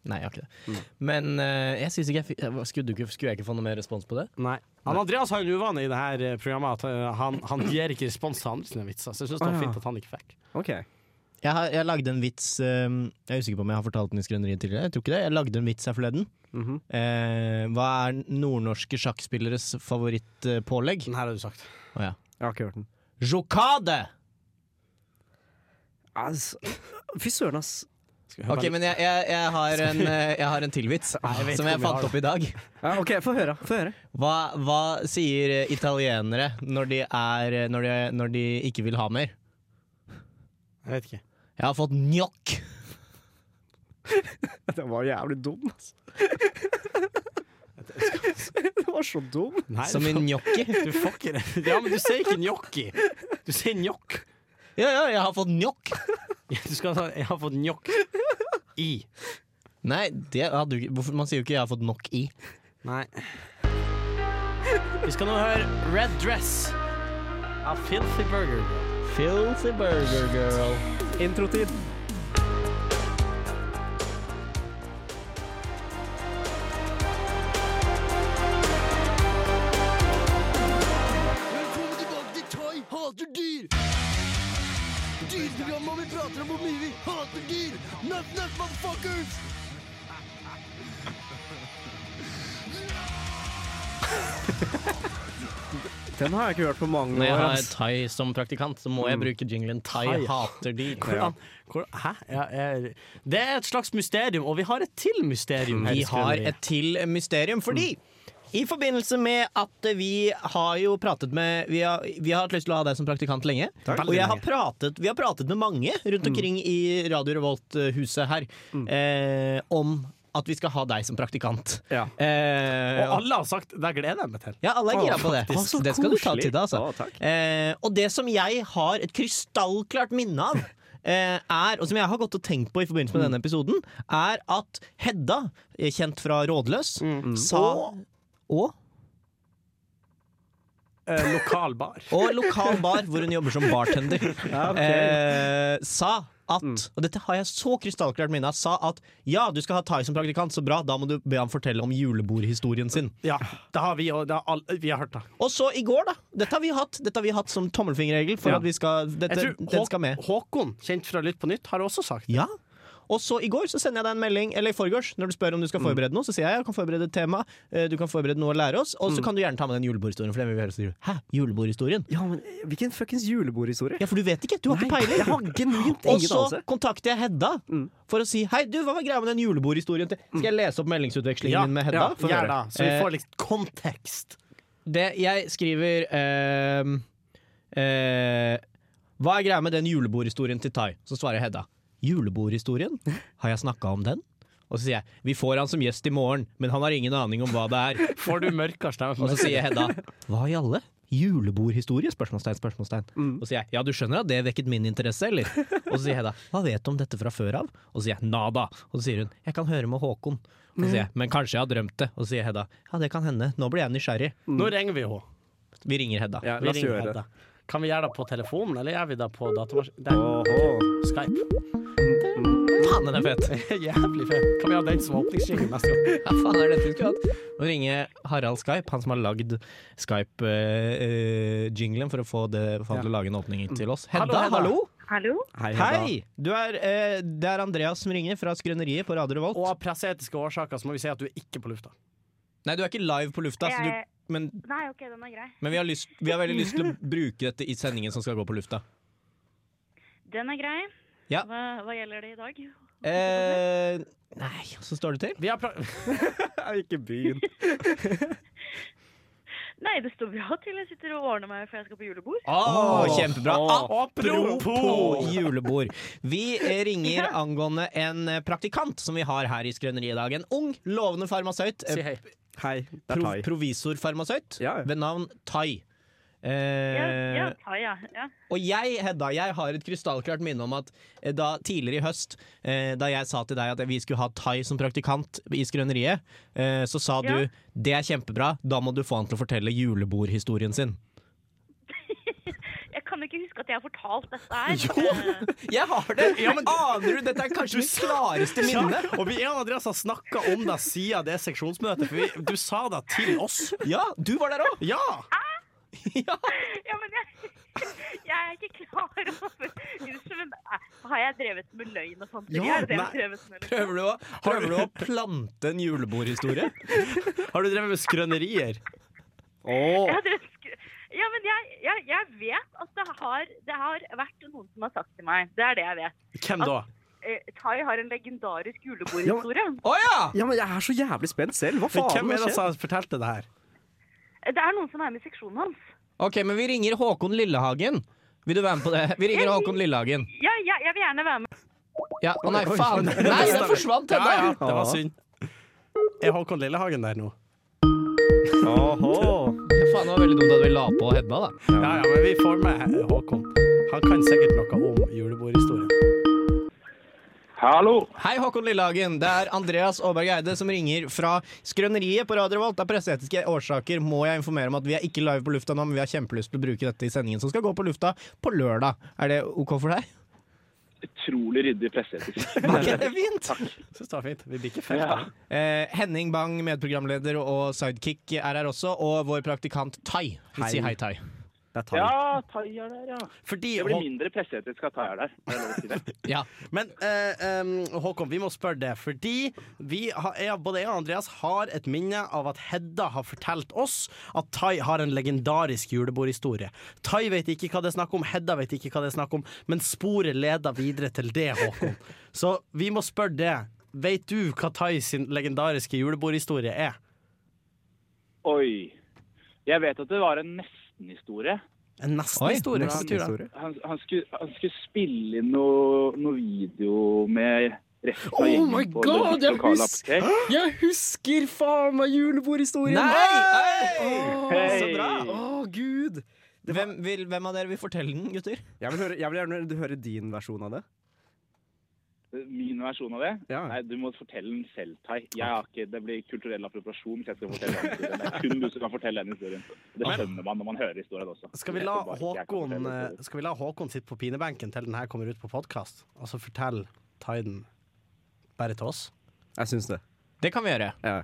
Speaker 2: Nei, jeg har ikke det. Men eh, jeg synes ikke jeg fikk Hva, skulle, du ikke, skulle jeg ikke få noe mer respons på det?
Speaker 3: Nei. Han Andreas har en uvane i det her eh, programmet at eh, han, han gir ikke respons til andre sine vitser, så jeg syns det var
Speaker 4: Ah, ja.
Speaker 3: fint at han ikke fikk.
Speaker 4: Ok
Speaker 2: Jeg, har, jeg lagde en vits eh, Jeg er usikker på om jeg har fortalt den i Skrøneriet tidligere. Jeg tror ikke det. Jeg lagde en vits her forleden. Eh, hva er nordnorske sjakkspilleres favorittpålegg?
Speaker 3: Den her har du sagt.
Speaker 2: Å ja.
Speaker 4: Jeg har ikke hørt den.
Speaker 2: Jokade!
Speaker 4: Altså, fy søren, ass.
Speaker 3: Skal vi høre
Speaker 2: Ok,
Speaker 3: litt?
Speaker 2: men jeg, jeg, jeg har en, eh, jeg har en til vits
Speaker 3: jeg vet
Speaker 2: som jeg
Speaker 3: ikke om jeg
Speaker 2: fant
Speaker 3: har
Speaker 2: opp i dag.
Speaker 4: Ja, OK, få høre. Få høre.
Speaker 2: Hva, hva sier eh, italienere når de, er, når, de, når de ikke vil ha mer?
Speaker 3: Jeg vet ikke.
Speaker 2: Jeg har fått njokk!
Speaker 4: Den var jævlig dum, altså. ass. Den var så dum.
Speaker 3: Nei,
Speaker 2: Som i
Speaker 3: du,
Speaker 2: gnocchi.
Speaker 3: du får ikke det. Ja, men du sier ikke gnocchi. Du sier njokk.
Speaker 2: Ja, ja, jeg har fått njokk!
Speaker 3: Du skal ha Jeg har fått njokk i.
Speaker 2: Nei, det hadde du ikke hvorfor- Man sier jo ikke 'jeg har fått nok i'.
Speaker 3: Nei. Vi skal nå høre Red Dress av Filthy Burger.
Speaker 2: Filthy burger girl.
Speaker 4: Introtid.
Speaker 7: Velkommen tilbake til Thai hater dyr. Dyreprogrammet hvor vi prater om hvor mye vi hater dyr. Nuff, nuff, motherfuckers!
Speaker 4: Den har jeg ikke hørt på mange
Speaker 2: Når jeg
Speaker 4: år.
Speaker 2: har
Speaker 4: ass.
Speaker 2: thai som praktikant, så må jeg bruke jinglen 'Thai
Speaker 3: Mm. Thai.
Speaker 2: hater dyr'.
Speaker 3: Hvordan, hvor, hæ? Ja, jeg, det er et slags mysterium, og vi har et til mysterium. her i
Speaker 2: Vi har
Speaker 3: Skrøneriet.
Speaker 2: et til mysterium, fordi i forbindelse med at vi har jo pratet med Vi har, vi har hatt lyst til å ha deg som praktikant lenge.
Speaker 3: Takk.
Speaker 2: Og jeg har
Speaker 3: Veldig
Speaker 2: pratet, vi har pratet med mange rundt omkring i Radio Revolt-huset her eh, om at vi skal ha deg som praktikant.
Speaker 4: Ja.
Speaker 2: Eh,
Speaker 3: Og alle har sagt det gleder jeg meg til.
Speaker 2: Ja, alle er
Speaker 4: Å,
Speaker 2: gira på det.
Speaker 4: faktisk. Å, så
Speaker 2: det skal du ta
Speaker 4: koselig.
Speaker 2: til deg, altså.
Speaker 4: Å, takk.
Speaker 2: eh, og det som jeg har et krystallklart minne av, eh, er, og som jeg har gått og tenkt på i forbindelse med denne episoden, er at Hedda, eh, kjent fra Rådløs, Mm. sa og,
Speaker 3: Eh, lokal bar.
Speaker 2: og lokal bar, hvor hun jobber som bartender, eh, sa at Og dette har jeg så krystallklart minne av. Sa at ja, du skal ha Tai som praktikant, så bra, da må du be ham fortelle om julebordhistorien sin.
Speaker 3: Ja, det har vi, og det har alle, vi har hørt det.
Speaker 2: Og så i går, da. Dette har vi hatt, dette har vi hatt som tommelfingerregel. For
Speaker 3: Ja.
Speaker 2: at vi skal, dette,
Speaker 3: Jeg tror
Speaker 2: den skal med
Speaker 3: Hå- Håkon, kjent fra Lytt på nytt, har også sagt det.
Speaker 2: Ja og så I går så sender jeg deg en melding eller i forgårs, når du spør om du skal
Speaker 4: Mm.
Speaker 2: forberede noe. Så sier jeg jeg kan forberede et tema, eh, du kan forberede noe å lære oss. Og så
Speaker 4: Mm.
Speaker 2: kan du gjerne ta med den julebordhistorien. For den vil vi helst gjøre. Hæ? Julebordhistorien?
Speaker 4: Ja, men eh, Hvilken fuckings julebordhistorie?
Speaker 2: Ja, for du vet ikke! Du har ikke peiling!
Speaker 4: Jeg har genuint
Speaker 2: Og
Speaker 4: ingen
Speaker 2: så
Speaker 4: anelse. Mm.
Speaker 2: kontakter jeg Hedda for å si Hei, du, hva var greia med den julebordhistorien til Skal jeg lese opp meldingsutvekslingen
Speaker 3: Ja,
Speaker 2: min med Hedda?
Speaker 3: Ja,
Speaker 2: Få
Speaker 3: gjør det,
Speaker 2: høre.
Speaker 3: så vi
Speaker 2: Eh,
Speaker 3: får litt kontekst.
Speaker 2: Det jeg skriver ehm, eh, Hva er greia med den julebordhistorien til Tai? Så svarer Hedda. Julebordhistorien? Har jeg snakka om den? Og så sier jeg vi får han som gjest i morgen, men han har ingen aning om hva det er.
Speaker 3: Får du mørkere stemme?
Speaker 2: Og så sier Hedda hva i alle? Julebordhistorie? spørsmålstegn, spørsmålstegn. Og så sier jeg ja, du skjønner at det vekket min interesse, eller? Og så sier Hedda hva vet du om dette fra før av? Og så sier jeg nada. Og så sier hun jeg kan høre med Håkon. Og så sier jeg men kanskje jeg har drømt det. Og så sier Hedda ja, det kan hende. Nå blir jeg nysgjerrig.
Speaker 3: Nå ringer vi henne.
Speaker 2: Vi ringer Hedda.
Speaker 4: Ja,
Speaker 3: Vi
Speaker 4: la oss
Speaker 3: ringer
Speaker 4: gjøre det.
Speaker 3: Hedda. Kan vi gjøre det på telefonen, eller gjør vi det på datamaskin? Der,
Speaker 4: Åhå.
Speaker 3: Skype.
Speaker 2: Faen, den er fet!
Speaker 3: Jævlig fett. Kan vi ha den som åpningsskive neste gang?
Speaker 2: Hva faen er dette vi skulle hatt? Nå ringer Harald Skype, han som har lagd Skype-jinglen for å få det, for han til å lage en åpning til oss. Hedda,
Speaker 3: Hallo, Hedda.
Speaker 2: hallo!
Speaker 8: Hallo?
Speaker 4: Hei, Hedda.
Speaker 2: Hei! Du er, eh, det er Andreas som ringer fra Skrøneriet på Radio Revolt.
Speaker 3: Og av presseetiske årsaker så må vi si at du er ikke på lufta.
Speaker 2: Nei, du er ikke live på lufta, så
Speaker 8: Jeg-
Speaker 2: du, men,
Speaker 8: Nei, OK, den er grei.
Speaker 2: men vi, har lyst, vi har veldig lyst til å bruke dette i sendingen som skal gå på lufta.
Speaker 8: Den er grei.
Speaker 2: Ja.
Speaker 8: Hva, hva gjelder det i dag?
Speaker 2: Eh, nei, så står det til.
Speaker 3: Vi har pra
Speaker 4: Ikke begynn.
Speaker 8: Nei, det står bra til. Jeg sitter og ordner meg før jeg skal på julebord.
Speaker 2: Å, kjempebra.
Speaker 3: Å,
Speaker 2: Apropos julebord. Vi eh, ringer angående en eh, praktikant som vi har her i Skrøneriet i dag. En ung, lovende farmasøyt. eh,
Speaker 3: Si hei.
Speaker 4: Hei, det er
Speaker 2: Prov
Speaker 4: Tai.
Speaker 2: provisorfarmasøyt
Speaker 4: Ja, ja.
Speaker 2: ved navn Tai. Eh,
Speaker 8: Ja, ja, ta, ja. ja.
Speaker 2: Og jeg, Hedda, jeg har et krystallklart minne om at eh, da tidligere i høst, eh, da jeg sa til deg at vi skulle ha Tai som praktikant i Skrøneriet, eh, så sa
Speaker 8: Ja.
Speaker 2: du det er kjempebra, da må du få han til å fortelle julebordhistorien sin.
Speaker 8: Jeg kan ikke huske at jeg har fortalt dette her. Eh,
Speaker 2: Jeg har det! Aner du? Dette er kanskje mitt klareste minne.
Speaker 3: Og vi og Andreas har snakka om deg siden det seksjonsmøtet, for vi, du sa det til oss.
Speaker 2: Ja, du var der òg!
Speaker 3: Ja!
Speaker 2: Ja.
Speaker 8: Ja, men jeg, jeg er ikke klar over Unnskyld, men eh, har jeg drevet med løgn og fanteri?
Speaker 3: Ja,
Speaker 8: er det jeg
Speaker 3: nei.
Speaker 8: har drevet med? liksom?
Speaker 2: Prøver du, å, prøver du å plante en julebordhistorie?
Speaker 3: Har du drevet med skrønerier?
Speaker 8: Jeg har drevet skru- Ja, men jeg, jeg, jeg vet at det har, det har vært noen som har sagt til meg Det er det jeg vet.
Speaker 3: Hvem da?
Speaker 8: Eh, Tai har en legendarisk julebordhistorie.
Speaker 2: Å ja!
Speaker 4: Ja, men jeg er så jævlig spent selv. Hva
Speaker 3: Men
Speaker 4: faen?
Speaker 3: hvem er
Speaker 4: hva
Speaker 3: det
Speaker 4: skjer?
Speaker 3: som fortalte det her?
Speaker 8: Det er noen som er med i seksjonen hans.
Speaker 2: Ok, men vi ringer Håkon Lillehagen. Vil du være med på det? Vi ringer Håkon Lillehagen.
Speaker 8: Ja, ja, jeg vil gjerne være med.
Speaker 2: Ja, Å nei, faen! Nei, den forsvant,
Speaker 3: Ja, ja,
Speaker 2: Hedda!
Speaker 3: det var synd. Er Håkon Lillehagen der nå?
Speaker 4: Åhå.
Speaker 2: Faen, det var veldig dumt at vi la på Hedda, da.
Speaker 3: Ja, ja, men vi får med Håkon. Han kan sikkert noe om julebordhistorien.
Speaker 9: Hallo.
Speaker 2: Hei, Håkon Lillehagen. Det er Andreas Aaberg Eide som ringer fra Skrøneriet på Radio Revolt. Av presseetiske årsaker må jeg informere om at vi er ikke live på lufta nå, men vi har kjempelyst til å bruke dette i sendingen som skal gå på lufta på lørdag. Er det OK for deg?
Speaker 9: Utrolig ryddig presseetisk.
Speaker 2: Ok, det er fint.
Speaker 3: Syns det var fint. Vi blir ikke felt
Speaker 9: Ja.
Speaker 3: av det.
Speaker 2: Eh, Henning Bang, medprogramleder og sidekick, er her også. Og vår praktikant Tai. Vi sier hei, Tai.
Speaker 4: Det er Tai.
Speaker 9: Ja, Tai er der, ja.
Speaker 3: Fordi
Speaker 9: Det blir
Speaker 3: Hå-
Speaker 9: mindre presseetisk av Tai er der. Er det lov å si det?
Speaker 2: Ja.
Speaker 3: Men eh, em, Håkon, vi må spørre det, fordi vi har, jeg, både jeg og Andreas har et minne av at Hedda har fortalt oss at Tai har en legendarisk julebordhistorie. Tai vet ikke hva det er snakk om, Hedda vet ikke hva det er snakk om, men sporet leder videre til det, Håkon. Så vi må spørre det. Vet du hva Tai sin legendariske julebordhistorie er?
Speaker 9: Oi. Jeg vet at det var en nestenhistorie.
Speaker 3: En nestenhistorie. Hva betyr det?
Speaker 4: Historie.
Speaker 9: Han, han, skulle, han skulle spille inn noe, noe video med resten av gjengen
Speaker 4: my
Speaker 9: på
Speaker 4: God,
Speaker 9: den
Speaker 4: jeg
Speaker 9: lokale
Speaker 4: husker-
Speaker 9: apotek.
Speaker 4: Jeg husker faen meg julebordhistorien!
Speaker 2: Nei!
Speaker 9: Hei!
Speaker 2: Så bra!
Speaker 4: Å, gud!
Speaker 2: Hvem, vil, hvem av dere vil fortelle den, gutter?
Speaker 4: Jeg vil, høre, jeg vil gjerne høre din versjon av det.
Speaker 9: Min versjon av det?
Speaker 4: Ja.
Speaker 9: Nei, du må fortelle den selv, Tai. Jeg har ikke, det blir kulturell appropriasjon hvis jeg skal fortelle den historien. Det er kun du som kan fortelle den historien. Det skjønner man når man hører historien også.
Speaker 3: Skal vi,
Speaker 9: Jeg
Speaker 3: la
Speaker 9: tror bare ikke jeg kan
Speaker 3: Håkon,
Speaker 9: fortelle
Speaker 3: eh,
Speaker 9: historien.
Speaker 3: skal vi la Håkon sitte på pinebenken til den her kommer ut på podkast, og så fortell Tai den bare til oss?
Speaker 4: Jeg syns det.
Speaker 2: Det kan vi gjøre.
Speaker 4: Ja.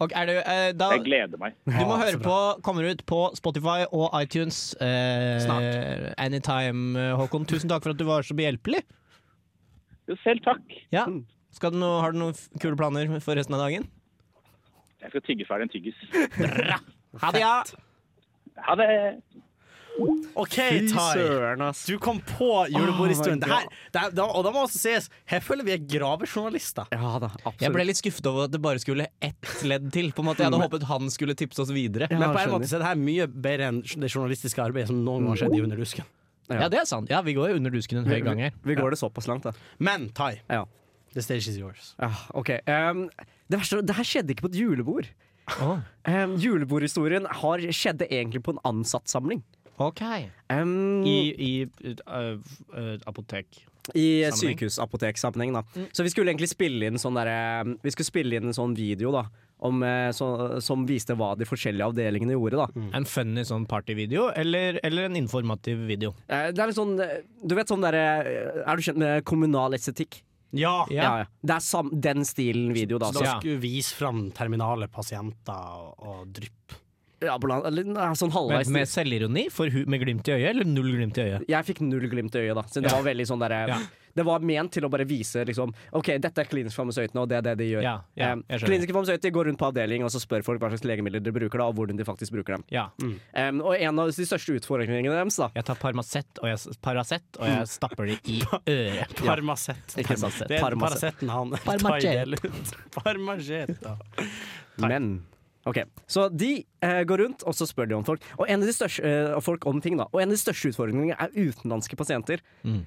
Speaker 2: Og er du, eh, da,
Speaker 9: Jeg gleder meg.
Speaker 2: du må
Speaker 3: Ah, så
Speaker 2: høre på Kommer ut på Spotify og iTunes eh,
Speaker 3: Snart.
Speaker 2: anytime, eh, Håkon. Tusen takk for at du var så behjelpelig.
Speaker 9: Jo, selv takk.
Speaker 2: Ja. Skal du no, har du noen f- kule planer for resten av dagen?
Speaker 9: Jeg skal tygge ferdig en tyggis.
Speaker 2: Ha det, ja!
Speaker 9: Ha det!
Speaker 3: OK,
Speaker 4: Fy
Speaker 3: Tai.
Speaker 4: søren, ass.
Speaker 3: Du kom på julebordhistorien. det
Speaker 4: Oh my
Speaker 3: her, det er, da, og da må også sies, her føler vi er grave journalister.
Speaker 4: Ja da,
Speaker 2: Jeg
Speaker 4: absolutt.
Speaker 2: ble litt skuffet over at det bare skulle ett ledd til. På en måte Jeg
Speaker 3: Mm.
Speaker 2: hadde håpet han skulle tipse oss videre.
Speaker 4: Ja,
Speaker 3: Men på en
Speaker 4: skjønner.
Speaker 3: måte så er det her mye bedre enn det journalistiske arbeidet som noen gang har skjedd i Under lusken.
Speaker 2: Ja, det er sant. Ja, vi går jo under dusken en
Speaker 3: Mm.
Speaker 2: høy gang her.
Speaker 4: Vi går det såpass langt, da.
Speaker 3: Men Tai,
Speaker 4: Ja.
Speaker 3: the stage is yours.
Speaker 4: Ja, ok. Ehm, det verste, det her skjedde ikke på et julebord.
Speaker 2: Åh.
Speaker 4: Ehm, julebordhistorien har, skjedde egentlig på en ansattsamling.
Speaker 2: Ok
Speaker 4: Ehm,
Speaker 2: I, i uh, uh, apotek.
Speaker 4: I
Speaker 2: sammenheng. Mm.
Speaker 4: sykehusapoteksammenheng, da. Så vi skulle egentlig spille inn sånn derre Vi skulle spille inn en sånn video, da. Om, eh, så, som viste hva de forskjellige avdelingene gjorde. da
Speaker 2: En funny sånn partyvideo eller, eller en informativ video?
Speaker 4: Eh, Det er litt sånn eh, Du vet sånn derre Er du kjent med kommunal estetikk?
Speaker 3: Ja!
Speaker 2: Ja.
Speaker 4: Ja, ja. Det er sam den stilen video, da.
Speaker 3: Så
Speaker 4: Så,
Speaker 3: da
Speaker 2: Ja.
Speaker 3: skulle vi vise fram terminale pasienter og, og drypp.
Speaker 4: ja, blant- eller, nei, sånn halvveis.
Speaker 2: Med, med selvironi? For hu med glimt i øyet, eller null glimt i øyet?
Speaker 4: Jeg fikk null glimt i øyet, da. Så det var veldig sånn derre
Speaker 2: Ja.
Speaker 4: Det var ment til å bare vise liksom OK, dette er klinisk farmasøytene, og det er det de gjør.
Speaker 2: Ja, ja,
Speaker 4: Eh,
Speaker 2: jeg skjønner.
Speaker 4: kliniske farmasøyter går rundt på avdeling og så spør folk hva slags legemidler de bruker, da, og hvordan de faktisk bruker dem.
Speaker 2: Ja.
Speaker 4: Eh, og en av de største utfordringene deres, da
Speaker 2: Jeg tar Parmacet og jeg, s- Paracet, og jeg stapper det i øret.
Speaker 3: Parmacet.
Speaker 4: Ikke sant?
Speaker 3: Det er
Speaker 4: Parmacet.
Speaker 3: Paraceten han Tai
Speaker 2: Parmacet.
Speaker 3: deler ut. Parmacet. ja.
Speaker 4: Men Ok, Så de eh, går rundt og så spør de om folk Og en av de største, eh, folk om ting da Og en av de største utfordringene er utenlandske pasienter.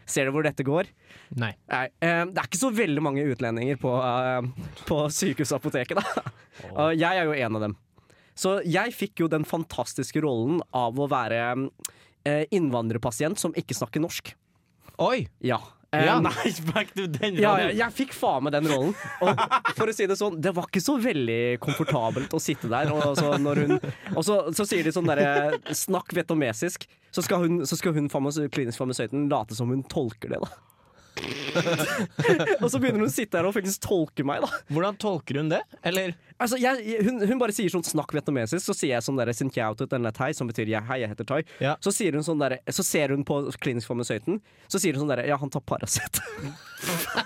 Speaker 4: Ser du hvor dette går?
Speaker 2: Mm. Nei.
Speaker 4: Nei, eh, Det er ikke så veldig mange utlendinger på, eh, på sykehusapoteket. da Og Jeg er jo en av dem. Så jeg fikk jo den fantastiske rollen av å være eh, innvandrerpasient som ikke snakker norsk.
Speaker 2: Oi!
Speaker 4: Ja. Eh,
Speaker 2: Ja.
Speaker 4: Nei,
Speaker 3: Back to den
Speaker 4: ja, ja, jeg fikk faen meg den rollen. Og for å si det sånn, det var ikke så veldig komfortabelt å sitte der. Og så, når hun, og så, så sier de sånn derre Snakk vietnamesisk. Så skal hun, så skal hun farmas, klinisk farmasøyten late som hun tolker det, da. og så begynner hun å sitte her og faktisk tolke meg, da.
Speaker 2: Hvordan tolker hun det? Eller
Speaker 4: Altså, jeg, hun, hun bare sier sånn 'snakk vietnamesisk', så sier jeg sånn derre 'sin kjau tut en tai', som betyr jeg, 'hei, jeg heter Tai'.
Speaker 2: Ja.
Speaker 4: Så, sier hun sånn derre- så ser hun på klinisk farmasøyten, så sier hun sånn derre 'ja, han tar Paracet'.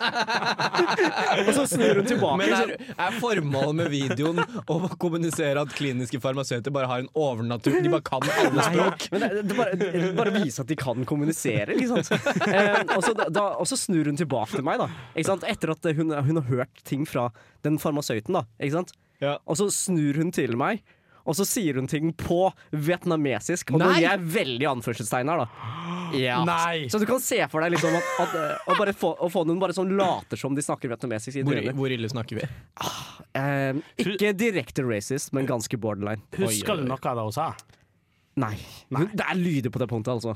Speaker 4: og så snur hun tilbake.
Speaker 2: Men er,
Speaker 4: så-
Speaker 2: er formålet med videoen å kommunisere at kliniske farmasøyter bare har en overnatur? De bare kan alle språk?
Speaker 4: Men det, det bare, det bare vise at de kan kommunisere, liksom. Eh, og, så, da, da- og så snur hun tilbake til meg, da. Ikke sant? Etter at hun, hun har hørt ting fra den farmasøyten, da. Ikke sant?
Speaker 2: Ja.
Speaker 4: Og så snur hun til meg. Og så sier hun ting på vietnamesisk. Og nå
Speaker 2: Nei!
Speaker 4: gir jeg veldig anførselstegn her, da. Ja.
Speaker 3: Nei.
Speaker 4: Så du kan se for deg liksom at, at eh, å bare få, å få noen bare sånn later som de snakker vietnamesisk. I
Speaker 2: Hvor,
Speaker 4: trynet.
Speaker 2: hvor ille snakker vi?
Speaker 4: eh, ikke direkte racist, men ganske borderline.
Speaker 2: Oi,
Speaker 3: Husker
Speaker 2: oi,
Speaker 3: du
Speaker 2: oi.
Speaker 3: noe av det hun sa?
Speaker 4: Nei. Hun, det er lyder på det punktet, altså.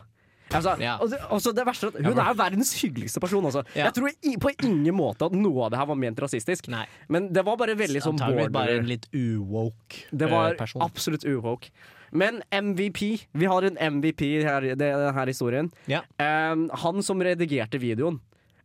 Speaker 4: altså
Speaker 2: Ja.
Speaker 4: og, det- og så det verste er at Hun er verdens hyggeligste person. Altså.
Speaker 2: Ja.
Speaker 4: Jeg tror i, på ingen måte at noe av det her var ment rasistisk.
Speaker 2: Nei.
Speaker 4: Men det var bare veldig sånn
Speaker 2: Antagelig bare en
Speaker 4: border.
Speaker 2: litt uwoke
Speaker 4: Det var
Speaker 2: eh, person.
Speaker 4: absolutt uwoke. Men MVP Vi har en MVP her i denne historien.
Speaker 2: Ja.
Speaker 4: Em, han som redigerte videoen,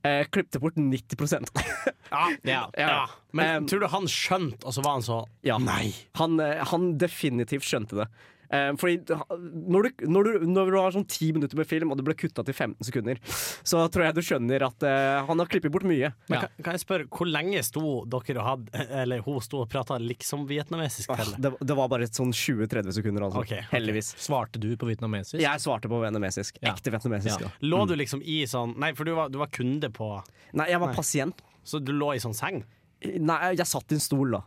Speaker 4: uh, klippte bort 90
Speaker 3: Ja.
Speaker 2: Ah, Ja.
Speaker 4: Ja.
Speaker 3: Men
Speaker 4: Em,
Speaker 3: tror du han skjønte, og så var han så
Speaker 4: Ja.
Speaker 3: Nei.
Speaker 4: Han, eh, han definitivt skjønte det. Eh, fordi d- ha- når du, når, du, når du har sånn ti minutter med film, og det ble kutta til 15 sekunder, så tror jeg du skjønner at eh, han har klippet bort mye.
Speaker 3: Men
Speaker 2: Ja.
Speaker 3: kan, kan jeg spørre, hvor lenge sto dere og hadde Eller hun sto og prata liksom vietnamesisk
Speaker 4: Ah,
Speaker 3: til deg?
Speaker 4: det, det var bare et sånn 20-30 sekunder, altså.
Speaker 3: Ok, ok.
Speaker 4: Heldigvis.
Speaker 2: Svarte du på vietnamesisk?
Speaker 4: Jeg svarte på vietnamesisk.
Speaker 2: Ja.
Speaker 4: Ekte vietnamesisk.
Speaker 2: Ja.
Speaker 4: da.
Speaker 3: Lå du liksom i sånn Nei, for du var, du var kunde på
Speaker 4: Nei, jeg var
Speaker 3: Nei.
Speaker 4: pasient.
Speaker 3: Så du lå i sånn seng?
Speaker 4: Nei, jeg satt i en stol, da.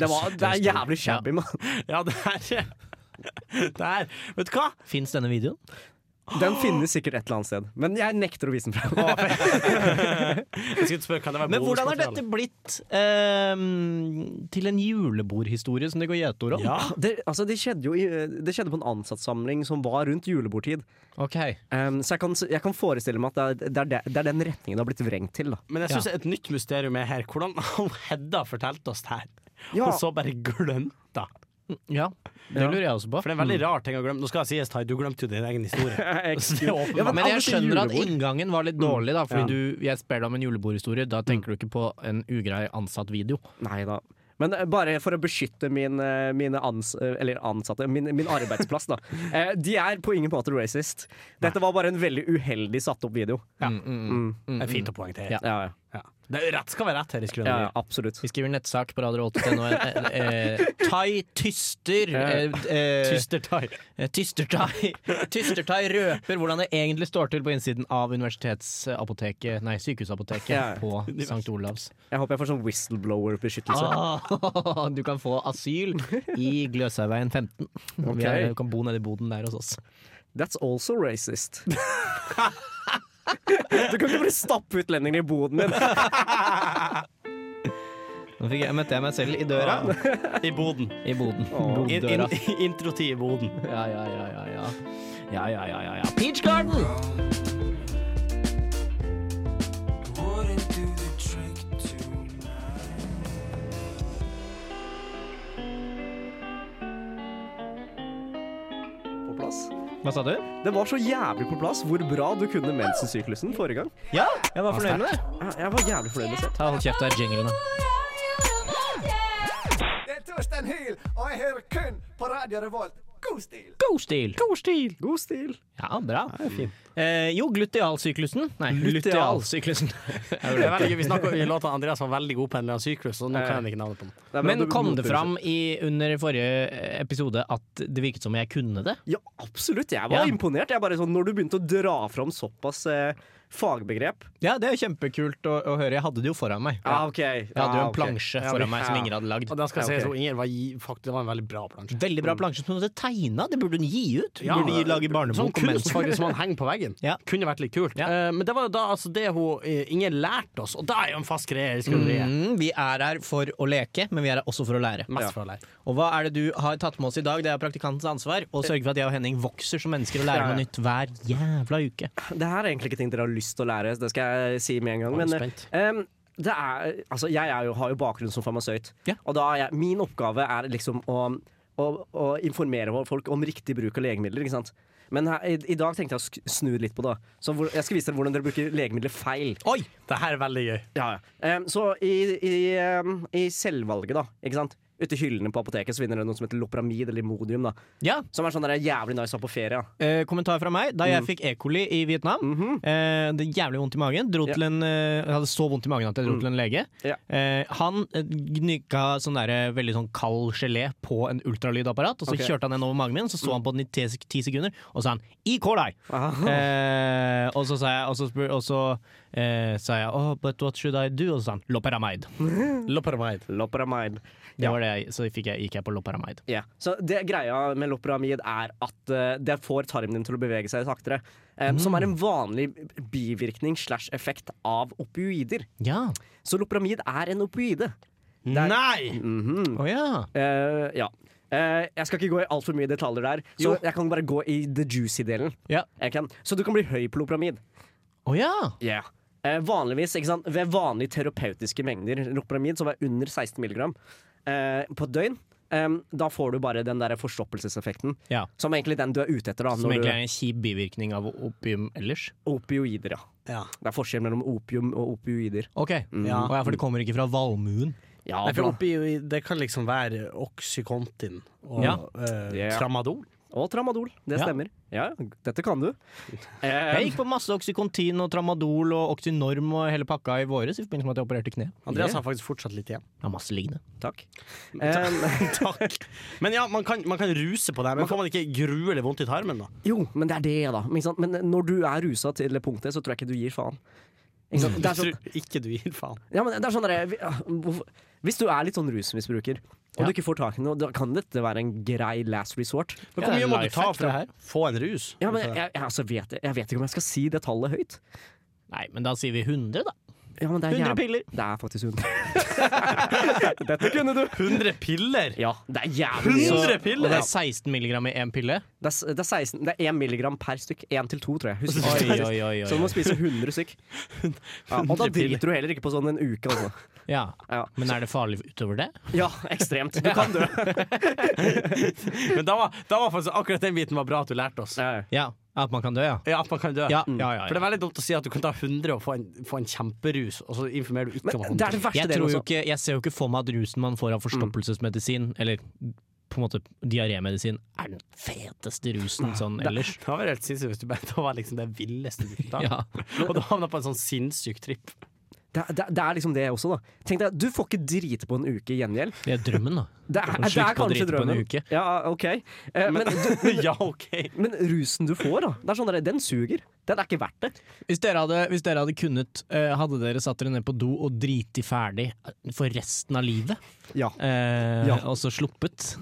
Speaker 4: Det, var, det er jævlig shabby, mann.
Speaker 3: Ja, det her Det her Vet du hva?
Speaker 2: Fins denne videoen?
Speaker 4: Den finnes sikkert et eller annet sted, men jeg nekter å vise den frem.
Speaker 3: Jeg skulle spørre, kan det være
Speaker 2: Men hvordan har
Speaker 3: bonusmateriale?
Speaker 2: dette blitt ehm, til en julebordhistorie som det går gjetord om?
Speaker 3: Ja.
Speaker 4: Det, altså, det, skjedde jo i, det skjedde på en ansattsamling som var rundt julebordtid.
Speaker 2: Ok.
Speaker 4: Um, så jeg kan, jeg kan forestille meg at det er, det, er det, det er den retningen det har blitt vrengt til. Da.
Speaker 3: Men jeg syns et nytt mysterium er her. Hvordan har Hedda fortalt oss det her?
Speaker 4: Ja.
Speaker 3: Og så bare glemt det.
Speaker 2: Ja, det lurer jeg også på.
Speaker 3: For det er en veldig rar ting å glemme. Nå skal det sies, Tai, du glemte jo din egen historie.
Speaker 4: Eh,
Speaker 3: Så det er åpenbart.
Speaker 4: Ja,
Speaker 2: Men
Speaker 4: alle
Speaker 2: jeg
Speaker 4: til
Speaker 2: skjønner at
Speaker 4: julebord.
Speaker 2: inngangen var litt dårlig, da, fordi
Speaker 3: Ja.
Speaker 2: du, jeg spør deg om en julebordhistorie. Da tenker du ikke på en ugrei ansatt video.
Speaker 4: Nei da. Men eh, bare for å beskytte min, eh, mine ans eh, eller ansatte min, min arbeidsplass, da. Eh, de er på ingen måte racist. Dette var bare en veldig uheldig satt opp video.
Speaker 3: Det er fint å poengtere.
Speaker 2: Ja.
Speaker 4: Ja, ja.
Speaker 3: Ja. Det er rett skal være rett her i
Speaker 4: ja,
Speaker 3: skrøneriet.
Speaker 4: ja absolutt.
Speaker 2: Vi skriver nettsak på Radio 8.no. Eh, eh, thai tyster. Eh, eh,
Speaker 3: Tyster-Tai.
Speaker 2: eh, Tystertai Tystertai røper hvordan det egentlig står til på innsiden av universitetsapoteket Nei, sykehusapoteket
Speaker 4: Ja.
Speaker 2: på St. Olavs.
Speaker 4: Jeg håper jeg får sånn whistleblower-beskyttelse.
Speaker 2: Ah, du kan få asyl i Gløshaugveien 15. Vi er, du kan bo nede i boden der hos oss.
Speaker 4: That's also racist. du kan ikke bare stappe utlendingene i boden din.
Speaker 2: Nå fikk jeg, møtte jeg meg selv i døra.
Speaker 3: I boden.
Speaker 2: I boden.
Speaker 3: In,
Speaker 2: Boddøra.
Speaker 3: in, Introtid i boden.
Speaker 2: Ja, ja, ja, ja, ja. Ja, ja, ja, ja, ja. Peach Garden!
Speaker 4: På plass.
Speaker 2: Hva sa du?
Speaker 4: Det var så jævlig på plass hvor bra du kunne mensensyklusen forrige gang.
Speaker 2: Ja, jeg var fornøyd med det.
Speaker 4: Jeg- Jeg var jævlig fornøyd med selv.
Speaker 2: Ta Hold kjeft, det er jinglene.
Speaker 7: Det er Torstein Hyl, og jeg hører kun på Radio Revolt. God stil!
Speaker 2: God stil! God stil!
Speaker 4: God stil.
Speaker 2: Ja, bra. Eh, jo, glutealsyklusen. Nei, lutealsyklusen.
Speaker 3: Det er veldig gøy. Vi snakket i låta Andreas var veldig god på en eller annen syklus, så nå kan jeg ikke navnet på den.
Speaker 2: Men kom det fram i, under forrige eh, episode at det virket som jeg kunne det?
Speaker 4: Ja, absolutt. Jeg
Speaker 2: Ja.
Speaker 4: var imponert. Jeg bare sånn, når du begynte å dra fram såpass eh, fagbegrep.
Speaker 2: Ja, det er jo kjempekult å, å høre. Jeg hadde det jo foran meg.
Speaker 4: Ah, ok.
Speaker 2: Jeg hadde jo
Speaker 4: Ah,
Speaker 2: en
Speaker 4: ok.
Speaker 2: plansje
Speaker 3: Ja,
Speaker 2: foran
Speaker 3: vi-
Speaker 2: meg som
Speaker 4: ja.
Speaker 2: Inger hadde lagd.
Speaker 3: Og da skal
Speaker 4: Ja,
Speaker 3: jeg
Speaker 4: ok.
Speaker 3: sies hun Inger var, gi- faktisk, det var en veldig bra plansje.
Speaker 2: Veldig bra plansje som hun hadde tegna. Det burde hun gi ut.
Speaker 3: Ja,
Speaker 2: burde gi, lage
Speaker 3: Sånn
Speaker 2: barnebok om
Speaker 3: kunst
Speaker 2: mennesker.
Speaker 3: faktisk som han henger på veggen.
Speaker 2: Ja.
Speaker 3: Kunne vært litt kult.
Speaker 2: Ja.
Speaker 3: Eh, men det var jo da altså, det hun eh, Inger lærte oss, og det er jo en fast greie i skoleriet.
Speaker 2: Mm, vi er her for å leke, men vi er her også for å lære.
Speaker 3: Mest
Speaker 2: Ja.
Speaker 3: for å lære.
Speaker 2: Og hva er det du har tatt med oss i dag? Det er praktikantens ansvar å sørge for at jeg og Henning vokser som mennesker og lærer
Speaker 4: Ja, ja.
Speaker 2: noe nytt hver jævla uke.
Speaker 4: Det her er egentlig ikke ting dere har lyst til å lære, det skal jeg si med en gang.
Speaker 3: Jeg er
Speaker 4: Men
Speaker 3: spent.
Speaker 4: eh, em, det er, altså, jeg er jo, har jo bakgrunn som farmasøyt,
Speaker 2: Ja.
Speaker 4: og da er jeg, min oppgave er liksom å, å, å informere folk om riktig bruk av legemidler. Ikke sant? Men her, i, i dag tenkte jeg å sk- snu litt på det. Så hvor, jeg skal vise dere hvordan dere bruker legemidler feil.
Speaker 2: Oi!
Speaker 3: Det her er veldig gøy.
Speaker 4: Ja, ja. Em, så i, i, em, i selvvalget, da, ikke sant? ute i hyllene på apoteket, så finner dere noe som heter Lopramid eller Imodium. Da,
Speaker 2: Ja,
Speaker 4: som er sånn der jævlig nice å ha på ferie. da.
Speaker 2: eh, Kommentar fra meg. Da
Speaker 3: Mm.
Speaker 2: jeg fikk E. coli i Vietnam,
Speaker 3: Mhm.
Speaker 2: eh, det jævlig vondt i magen dro
Speaker 4: Ja.
Speaker 2: til en, eh, Jeg hadde så vondt i magen at jeg
Speaker 3: Mm.
Speaker 2: dro til en lege.
Speaker 4: Ja.
Speaker 2: Eh, han eh, gnikka sånn der, veldig sånn kald gelé på en ultralydapparat, og så
Speaker 4: Ok.
Speaker 2: kjørte han den over magen min, og så så han på den i te- ti sekunder, og så sa han 'E. coli'!
Speaker 4: Aha.
Speaker 2: Eh, og så sa jeg, og så, spør, og så eh, sa jeg oh, But what should I do? Og så sa han Loperamide.
Speaker 3: Loperamide.
Speaker 4: Loperamide.
Speaker 2: Det var det jeg, så fikk jeg, gikk jeg på Loperamide.
Speaker 4: Ja, så det Greia med loperamid er at eh, det får tarmen din til å bevege seg saktere. eh, Som
Speaker 2: Mm.
Speaker 4: er en vanlig bivirkning slash effekt av opioider.
Speaker 2: Ja.
Speaker 4: Så loperamid er en opioide. Det er-
Speaker 3: Nei!
Speaker 4: Mhm.
Speaker 2: Å ja.
Speaker 4: Eh, ja. Eh, jeg skal ikke gå i altfor mye detaljer der, så
Speaker 3: Jo.
Speaker 4: jeg kan bare gå i the juicy-delen.
Speaker 2: Ja.
Speaker 4: Jeg kan- Så du kan bli høy på loperamid.
Speaker 2: Å ja.
Speaker 4: Yeah. Eh, vanligvis, ikke sant, ved vanlige terapeutiske mengder Loperamid som er under 16 mg eh, på et døgn, eh, da får du bare den der forstoppelseseffekten.
Speaker 2: Ja.
Speaker 4: Som egentlig den du er ute etter. da
Speaker 2: Som
Speaker 4: når du-
Speaker 2: egentlig er en kjip bivirkning av opium ellers.
Speaker 4: Opioider, ja.
Speaker 3: Ja.
Speaker 4: Det er forskjell mellom opium og opioider.
Speaker 2: Ok,
Speaker 4: Mhm.
Speaker 3: Ja.
Speaker 2: Å ja, For det kommer ikke fra valmuen.
Speaker 4: Ja,
Speaker 3: Nei, for
Speaker 4: bra.
Speaker 3: oppi, det kan liksom være Oxycontin og
Speaker 2: Ja.
Speaker 3: eh,
Speaker 4: Ja.
Speaker 3: Tramadol.
Speaker 4: Og tramadol. Det
Speaker 2: Ja.
Speaker 4: stemmer. Ja, dette kan du.
Speaker 2: Jeg
Speaker 4: Eh,
Speaker 2: gikk på masse Oxycontin og Tramadol og Oxynorm og hele pakka i våres i forbindelse med at jeg opererte kneet.
Speaker 3: Andreas
Speaker 4: Ja.
Speaker 3: har faktisk fortsatt litt igjen.
Speaker 2: Jeg har masse liggende.
Speaker 4: takk. Eh,
Speaker 3: Takk. Men ja, man kan, man kan ruse på det, her, men får man ikke gruelig vondt i tarmen da?
Speaker 4: jo, men det er det, da. Men, ikke sant? men eh, når du er rusa til det punktet, så tror jeg ikke du gir faen. Ikke sant? Det er sånn,
Speaker 3: Tror Ikke du gir faen.
Speaker 4: ja, men det er sånn derre- vi- ah, hvorfor- Hvis du er litt sånn rusmisbruker, og du ikke får tak i noe, da kan dette være en grei last resort.
Speaker 3: Men
Speaker 2: Ja,
Speaker 3: hvor
Speaker 2: det er
Speaker 3: mye må du
Speaker 2: life
Speaker 3: ta
Speaker 2: hack,
Speaker 3: for
Speaker 2: det
Speaker 3: å
Speaker 2: her.
Speaker 3: få en rus?
Speaker 4: Ja, men jeg, jeg, altså, vet, jeg vet ikke om jeg skal si det tallet høyt.
Speaker 2: Nei, men da sier vi 100, da.
Speaker 4: Ja, men det er
Speaker 2: 100
Speaker 4: jæv-
Speaker 2: piller.
Speaker 4: Det er faktisk 100. dette kunne du.
Speaker 3: 100 piller?
Speaker 4: Ja, det er jævlig mye.
Speaker 3: 100
Speaker 2: Og
Speaker 3: piller?
Speaker 2: det er 16 milligram i én pille.
Speaker 4: Det er, s- det er 16 Det er 1 milligram per stykk. 1 til 2, tror jeg. Husker
Speaker 2: Oi,
Speaker 4: ikke.
Speaker 2: oi, oi, oi,
Speaker 4: Så du må spise 100 stykk. Ja, og da driter du heller ikke på sånn en uke, altså.
Speaker 2: Ja.
Speaker 4: Ja,
Speaker 2: Men er det farlig utover det?
Speaker 4: ja ekstremt. Du kan dø.
Speaker 3: Men da var, da var faktisk akkurat den biten var bra at du lærte oss.
Speaker 4: Ja,
Speaker 2: Ja, At man kan dø, ja.
Speaker 3: Ja, at man kan dø. Mm.
Speaker 2: Ja, ja, ja,
Speaker 3: For det er veldig dumt å si at du kan ta 100 og få en, få en kjemperus, og så informerer du ikke om
Speaker 4: Men det er det verste
Speaker 2: Jeg,
Speaker 4: delen
Speaker 2: tror jo
Speaker 4: også.
Speaker 2: ikke, jeg ser jo ikke for meg at rusen man får av forstoppelsesmedisin, eller på en måte diarémedisin, er den feteste rusen sånn ellers.
Speaker 3: Det var helt sinnssykt hvis du bare Det var liksom det villeste du kunne ta.
Speaker 2: Ja.
Speaker 3: Og du havna på en sånn sinnssyk tripp.
Speaker 4: Det, er- det, er- det er liksom det også, da. Tenk deg, Du får ikke drite på en uke i gjengjeld.
Speaker 2: Det er drømmen, da.
Speaker 4: Det er,
Speaker 2: kan
Speaker 4: det er
Speaker 2: slutte på å
Speaker 4: kanskje
Speaker 2: drite på en
Speaker 4: drømmen.
Speaker 2: uke.
Speaker 4: Ja, OK. Eh, men,
Speaker 3: ja, OK.
Speaker 4: men rusen du får, da. Det er sånn der, Den suger. Den er ikke verdt det.
Speaker 2: Hvis dere hadde, hvis dere hadde kunnet, eh, hadde dere satt dere ned på do og driti ferdig for resten av livet?
Speaker 4: Ja.
Speaker 2: Eh,
Speaker 4: Ja.
Speaker 2: Og så sluppet?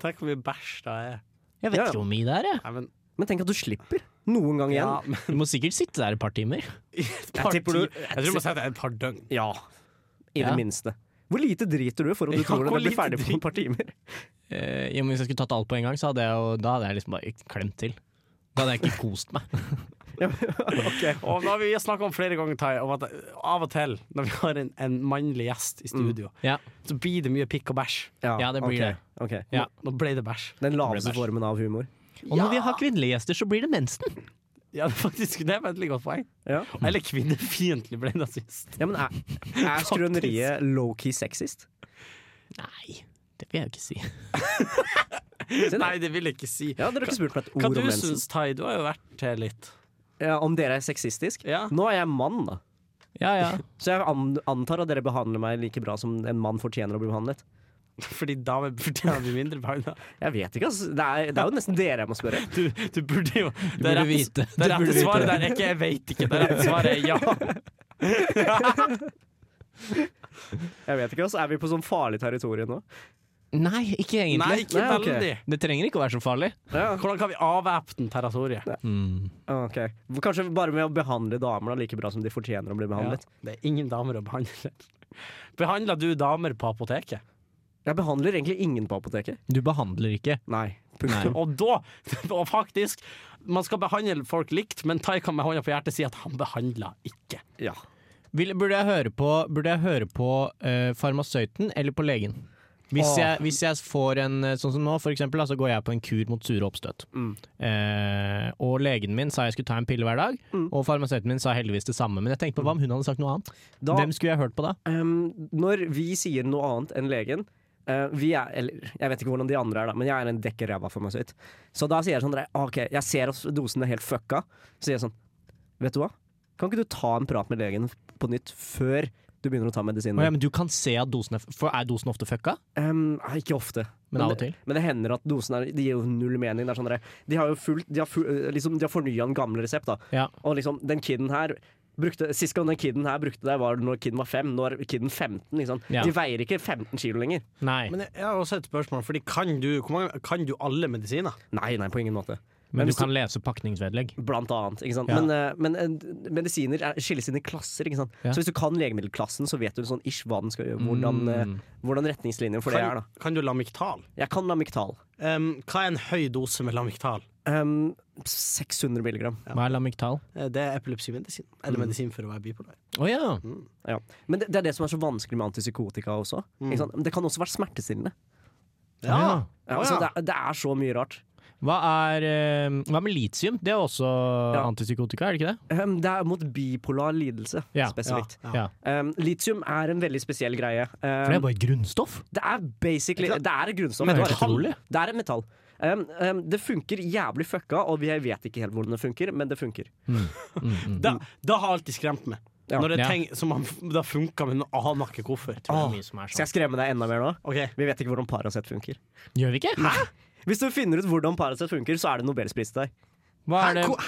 Speaker 3: Tenk hvor mye bæsj det er.
Speaker 2: Jeg vet
Speaker 4: Ja, ja.
Speaker 2: ikke hvor mye det er, jeg.
Speaker 3: Nei, men,
Speaker 4: Men tenk at du slipper. Noen gang
Speaker 3: ja,
Speaker 4: igjen.
Speaker 3: men
Speaker 2: Du må sikkert sitte der et par timer.
Speaker 3: et par
Speaker 4: tipper
Speaker 3: ti-
Speaker 4: du-
Speaker 3: jeg tror du må si at det er et par døgn.
Speaker 4: Ja. I
Speaker 2: Ja.
Speaker 4: det minste. Hvor lite driter du for om du
Speaker 3: Ja,
Speaker 4: tror
Speaker 3: hvor
Speaker 4: det blir
Speaker 3: lite
Speaker 4: ferdig på et par timer?
Speaker 2: Eh, jo, men hvis jeg skulle tatt alt på en gang, så hadde jeg jo, da hadde jeg liksom bare klemt til. Da hadde jeg ikke kost meg.
Speaker 3: Og nå har vi snakket om flere ganger Tai, om at av og til når vi har en, en mannlig gjest i
Speaker 4: Mm.
Speaker 3: studio,
Speaker 2: Ja,
Speaker 3: så blir det mye pikk og bæsj.
Speaker 2: Ja, det blir
Speaker 4: ok,
Speaker 2: det.
Speaker 4: ok.
Speaker 2: ja.
Speaker 3: Nå ble det bæsj.
Speaker 4: Den laveste formen av humor.
Speaker 2: Og når vi har kvinnelige gjester, så blir det mensen.
Speaker 3: Ja, det er faktisk det er et veldig godt poeng.
Speaker 4: Ja.
Speaker 2: Mm.
Speaker 3: Eller kvinnefiendtlig ble det sist.
Speaker 4: Ja, men er, er skrøneriet low-key sexist?
Speaker 2: Nei, det vil jeg jo ikke si.
Speaker 4: Si det.
Speaker 3: Nei, det vil jeg ikke si.
Speaker 4: Ja, Dere har ikke spurt meg et
Speaker 3: Hva
Speaker 4: ord
Speaker 3: du
Speaker 4: om mensen.
Speaker 3: syns, Tai? Du har jo vært til litt.
Speaker 4: Ja, om dere er sexistisk?
Speaker 3: Ja.
Speaker 4: Nå er jeg mann, da.
Speaker 2: Ja, ja.
Speaker 4: Så jeg an antar at dere behandler meg like bra som en mann fortjener å bli behandlet.
Speaker 3: Fordi damer fortjener vi mindre penger.
Speaker 4: Jeg vet ikke, altså. Det er, det er jo nesten dere jeg må spørre.
Speaker 3: Du, du burde jo
Speaker 2: Du burde vite. Du
Speaker 3: Det
Speaker 2: burde
Speaker 3: rette
Speaker 2: vite
Speaker 3: svaret
Speaker 2: det.
Speaker 3: der er ikke 'jeg veit ikke', det rette svaret er ja.
Speaker 4: Jeg vet ikke, altså. Er vi på sånn farlig territorium nå?
Speaker 2: Nei, ikke
Speaker 3: Nei,
Speaker 2: egentlig.
Speaker 3: ikke
Speaker 4: Nei, ok.
Speaker 3: veldig.
Speaker 2: Det trenger ikke å være så farlig.
Speaker 4: Ja,
Speaker 3: Hvordan kan vi avvæpne territoriet?
Speaker 4: Ah, ok. Kanskje bare med å behandle damer da, like bra som de fortjener å bli behandlet.
Speaker 3: Ja, det er ingen damer å behandle. Behandler du damer på apoteket?
Speaker 4: Jeg behandler egentlig ingen på apoteket.
Speaker 2: Du behandler ikke.
Speaker 4: Nei. Punktum.
Speaker 3: Og da, og faktisk Man skal behandle folk likt, men Tai kan med hånda på hjertet si at han behandler ikke.
Speaker 4: Ja.
Speaker 2: Vil, burde jeg høre på, burde jeg høre på eh, farmasøyten eller på legen? Hvis,
Speaker 3: Åh.
Speaker 2: jeg, hvis jeg får en eh, sånn som nå, for eksempel, da, så går jeg på en kur mot sure oppstøt. Eh, og legen min sa jeg skulle ta en pille hver dag, og farmasøyten min sa heldigvis det samme. Men jeg tenkte på hva om hun hadde sagt noe annet?
Speaker 4: Da-
Speaker 2: Hvem skulle jeg hørt på da?
Speaker 4: Ehm, når vi sier noe annet enn legen eh, vi er, eller, Jeg vet ikke hvordan de andre er, da men jeg er en dekkeræva farmasøyt. Så da sier jeg sånn der, OK, jeg ser at dosen er helt fucka. Så sier jeg sånn Vet du hva? Kan ikke du ta en prat med legen på nytt før du begynner å ta medisinen?
Speaker 2: Å ja, men du kan se at dosen er, f- for er dosen ofte fucka?
Speaker 4: Ehm, nei, ikke ofte.
Speaker 2: Men av og
Speaker 4: det-
Speaker 2: til.
Speaker 4: Men det hender at dosen er, de gir jo null mening. Det er sånn der, de har jo fulgt, de har, fu- eh, liksom, de har fornya en gammel resept. da
Speaker 2: Ja.
Speaker 4: Og liksom, den kiden her brukte, Sist gang den kiden her brukte det, var når kiden var fem. Nå er kiden 15. Liksom.
Speaker 2: Ja.
Speaker 4: De veier ikke 15 kilo lenger.
Speaker 2: Nei. Men,
Speaker 3: Men jeg har også et spørsmål, fordi kan du, hvor mange, kan du alle medisiner?
Speaker 4: Nei, nei, på ingen måte.
Speaker 2: du
Speaker 4: hvis
Speaker 2: kan lese pakningsvedlegg.
Speaker 4: Blant annet. Ikke sant?
Speaker 2: Ja.
Speaker 4: Men, eh, men eh, medisiner er, skilles inn i klasser. Ikke sant?
Speaker 2: Ja.
Speaker 4: Så hvis du kan legemiddelklassen, så vet du sånn ish hva den skal gjøre. Hvordan, eh,
Speaker 2: Mm.
Speaker 4: hvordan retningslinjer for det
Speaker 3: Kan,
Speaker 4: er. da
Speaker 3: kan du lamiktal?
Speaker 4: Jeg kan Lamictal.
Speaker 3: Um, hva er en høy dose med lamiktal?
Speaker 4: Um, 600 milligram.
Speaker 2: Hva er lamiktal?
Speaker 3: Eh, Det er epilepsimedisin.
Speaker 4: Mm.
Speaker 3: Eller medisin for å være bipolar.
Speaker 2: Å ja.
Speaker 4: Ja. Men det, det er det som er så vanskelig med antipsykotika også. Ikke sant? Men Det kan også være smertestillende.
Speaker 2: Ja.
Speaker 4: Ja,
Speaker 3: Å,
Speaker 4: altså,
Speaker 3: ja.
Speaker 4: det, er, det er så mye rart.
Speaker 2: Hva, er, eh, hva med litium? Det er også
Speaker 4: Ja.
Speaker 2: antipsykotika, er det ikke det?
Speaker 4: Um, det er mot bipolar lidelse
Speaker 2: Ja.
Speaker 4: spesifikt.
Speaker 2: Ja.
Speaker 4: Um, litium er en veldig spesiell greie.
Speaker 2: For det er
Speaker 4: Um,
Speaker 2: bare et grunnstoff.
Speaker 4: det er basically
Speaker 3: Ikke sant?
Speaker 4: Det er et grunnstoff.
Speaker 2: Men
Speaker 4: Det er
Speaker 2: helt
Speaker 4: et metall.
Speaker 2: utrolig.
Speaker 4: Det er et metall. Um, um, det funker jævlig fucka, og jeg vet ikke helt hvordan det funker, men det funker.
Speaker 2: Mm,
Speaker 3: Da, da har alltid skremt meg.
Speaker 4: Ja.
Speaker 3: Når det
Speaker 2: Ja.
Speaker 3: er ting som har, det har funka, men aner ikke hvorfor.
Speaker 2: Det er mye som er
Speaker 4: Skal
Speaker 2: sånn.
Speaker 4: jeg skremme deg enda mer nå?
Speaker 3: Ok.
Speaker 4: Vi vet ikke hvordan Paracet funker.
Speaker 2: Gjør vi ikke? Hæ?
Speaker 4: Hvis du finner ut hvordan Paracet funker, så er det nobelspris til deg.
Speaker 2: Hva er det?
Speaker 3: Hvor-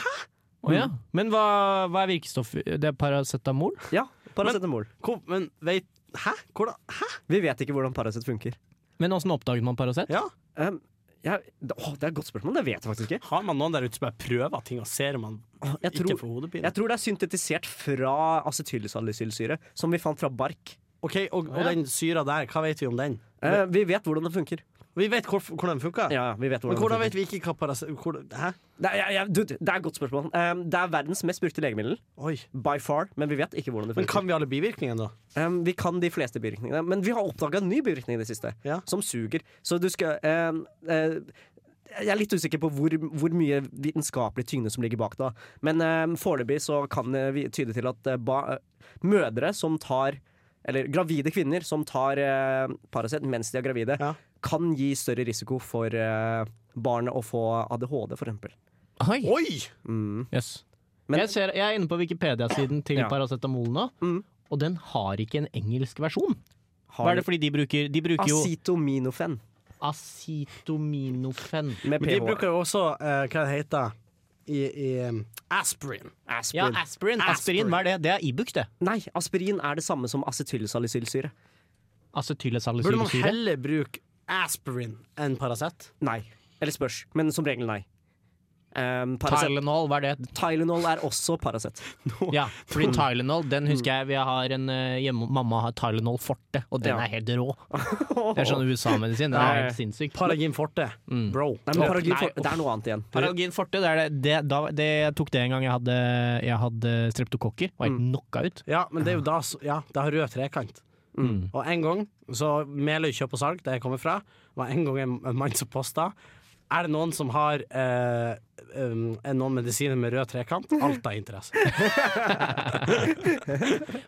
Speaker 2: Å ja. Men hva, hva er virkestoff? Det er paracetamol?
Speaker 4: Ja, paracetamol.
Speaker 3: Hvor, men veit Hæ? Hvordan? Hæ?
Speaker 4: Vi vet ikke hvordan Paracet funker.
Speaker 2: Men åssen oppdaget man Paracet?
Speaker 3: Ja.
Speaker 4: Um, ja, det, åh, det er et godt spørsmål. Det vet jeg faktisk ikke.
Speaker 3: Har man noen der ute som bare prøver ting og ser om man
Speaker 4: Jeg
Speaker 3: ikke
Speaker 4: tror,
Speaker 3: får hodepine?
Speaker 4: jeg tror det er syntetisert fra acetylsalicylsyre, som vi fant fra bark.
Speaker 3: Ok, og, og den syra der, hva vet vi om den?
Speaker 4: Eh, vi vet hvordan det funker.
Speaker 3: Vi vet hvor, hvordan den funker.
Speaker 4: Ja, ja, vi vet hvordan
Speaker 3: Men hvordan
Speaker 4: det
Speaker 3: vet vi
Speaker 4: funker.
Speaker 3: ikke hva parase... Hvor, hæ?
Speaker 4: Det, er, ja, ja, du, det er et godt spørsmål. Um, det er verdens mest brukte legemiddel,
Speaker 3: Oi.
Speaker 4: by far, men vi vet ikke hvordan det
Speaker 3: Men
Speaker 4: funker.
Speaker 3: kan vi alle bivirkningene, da?
Speaker 4: Um, vi kan de fleste bivirkningene, men vi har oppdaga en ny bivirkning i det siste,
Speaker 3: Ja.
Speaker 4: som suger. Så du skal um, eh, Jeg er litt usikker på hvor, hvor mye vitenskapelig tyngde som ligger bak da, men um, foreløpig så kan eh, vi tyde til at eh, ba, eh, mødre som tar eller gravide kvinner som tar eh, Paracet mens de er gravide,
Speaker 3: Ja.
Speaker 4: kan gi større risiko for eh, barnet å få ADHD, for eksempel. Mm.
Speaker 2: Oi!
Speaker 3: Oi!
Speaker 2: Yes.
Speaker 4: Men-
Speaker 2: jeg, ser, jeg er inne på Wikipedia-siden til
Speaker 4: Ja.
Speaker 2: paracetamol nå, og den har ikke en engelsk versjon.
Speaker 4: Har
Speaker 2: Hva er det fordi de bruker? De bruker jo
Speaker 4: Acetominofen
Speaker 2: acetominofen.
Speaker 4: med
Speaker 3: Men de
Speaker 4: pH.
Speaker 3: bruker jo også eh, hva det heter i, i um, aspirin.
Speaker 2: Ja,
Speaker 4: Aspirin.
Speaker 2: aspirin. Aspirin, hva er det? Det er Ibux, det.
Speaker 4: Nei, aspirin er det samme som acetylsalicylsyre.
Speaker 3: Burde man
Speaker 2: Acetylesalicylsyre.
Speaker 3: heller bruke aspirin enn Paracet?
Speaker 4: Nei. Eller spørs, men som regel nei. Um, Paracet.
Speaker 2: Tylenol, hva er det? Mm.
Speaker 4: Tylenol er også Paracet.
Speaker 2: Ja, fordi Tylenol, den husker jeg vi har en eh, hjemme, Mamma har Tylenol Forte, og den
Speaker 4: Ja.
Speaker 2: er helt rå. Det er sånn USA-medisin. Den
Speaker 4: Ja, ja.
Speaker 2: er helt sinnssyk.
Speaker 3: Paragin forte, bro.
Speaker 4: Nei, men
Speaker 2: Nei,
Speaker 4: paraglyf-
Speaker 2: uff.
Speaker 4: det er noe annet igjen.
Speaker 2: Paralgin Forte, det er det, det, da, det jeg tok det en gang jeg hadde, jeg hadde streptokokker. Var helt knocka ut.
Speaker 3: Ja, men det er jo da s- Ja, det har rød trekant. Mm. Og en gang, så Meløy kjøp og salg, der jeg kommer fra, var en gang en, en mann som posta Er det noen som har eh, um, er noen medisiner med rød trekant? Alt av interesse.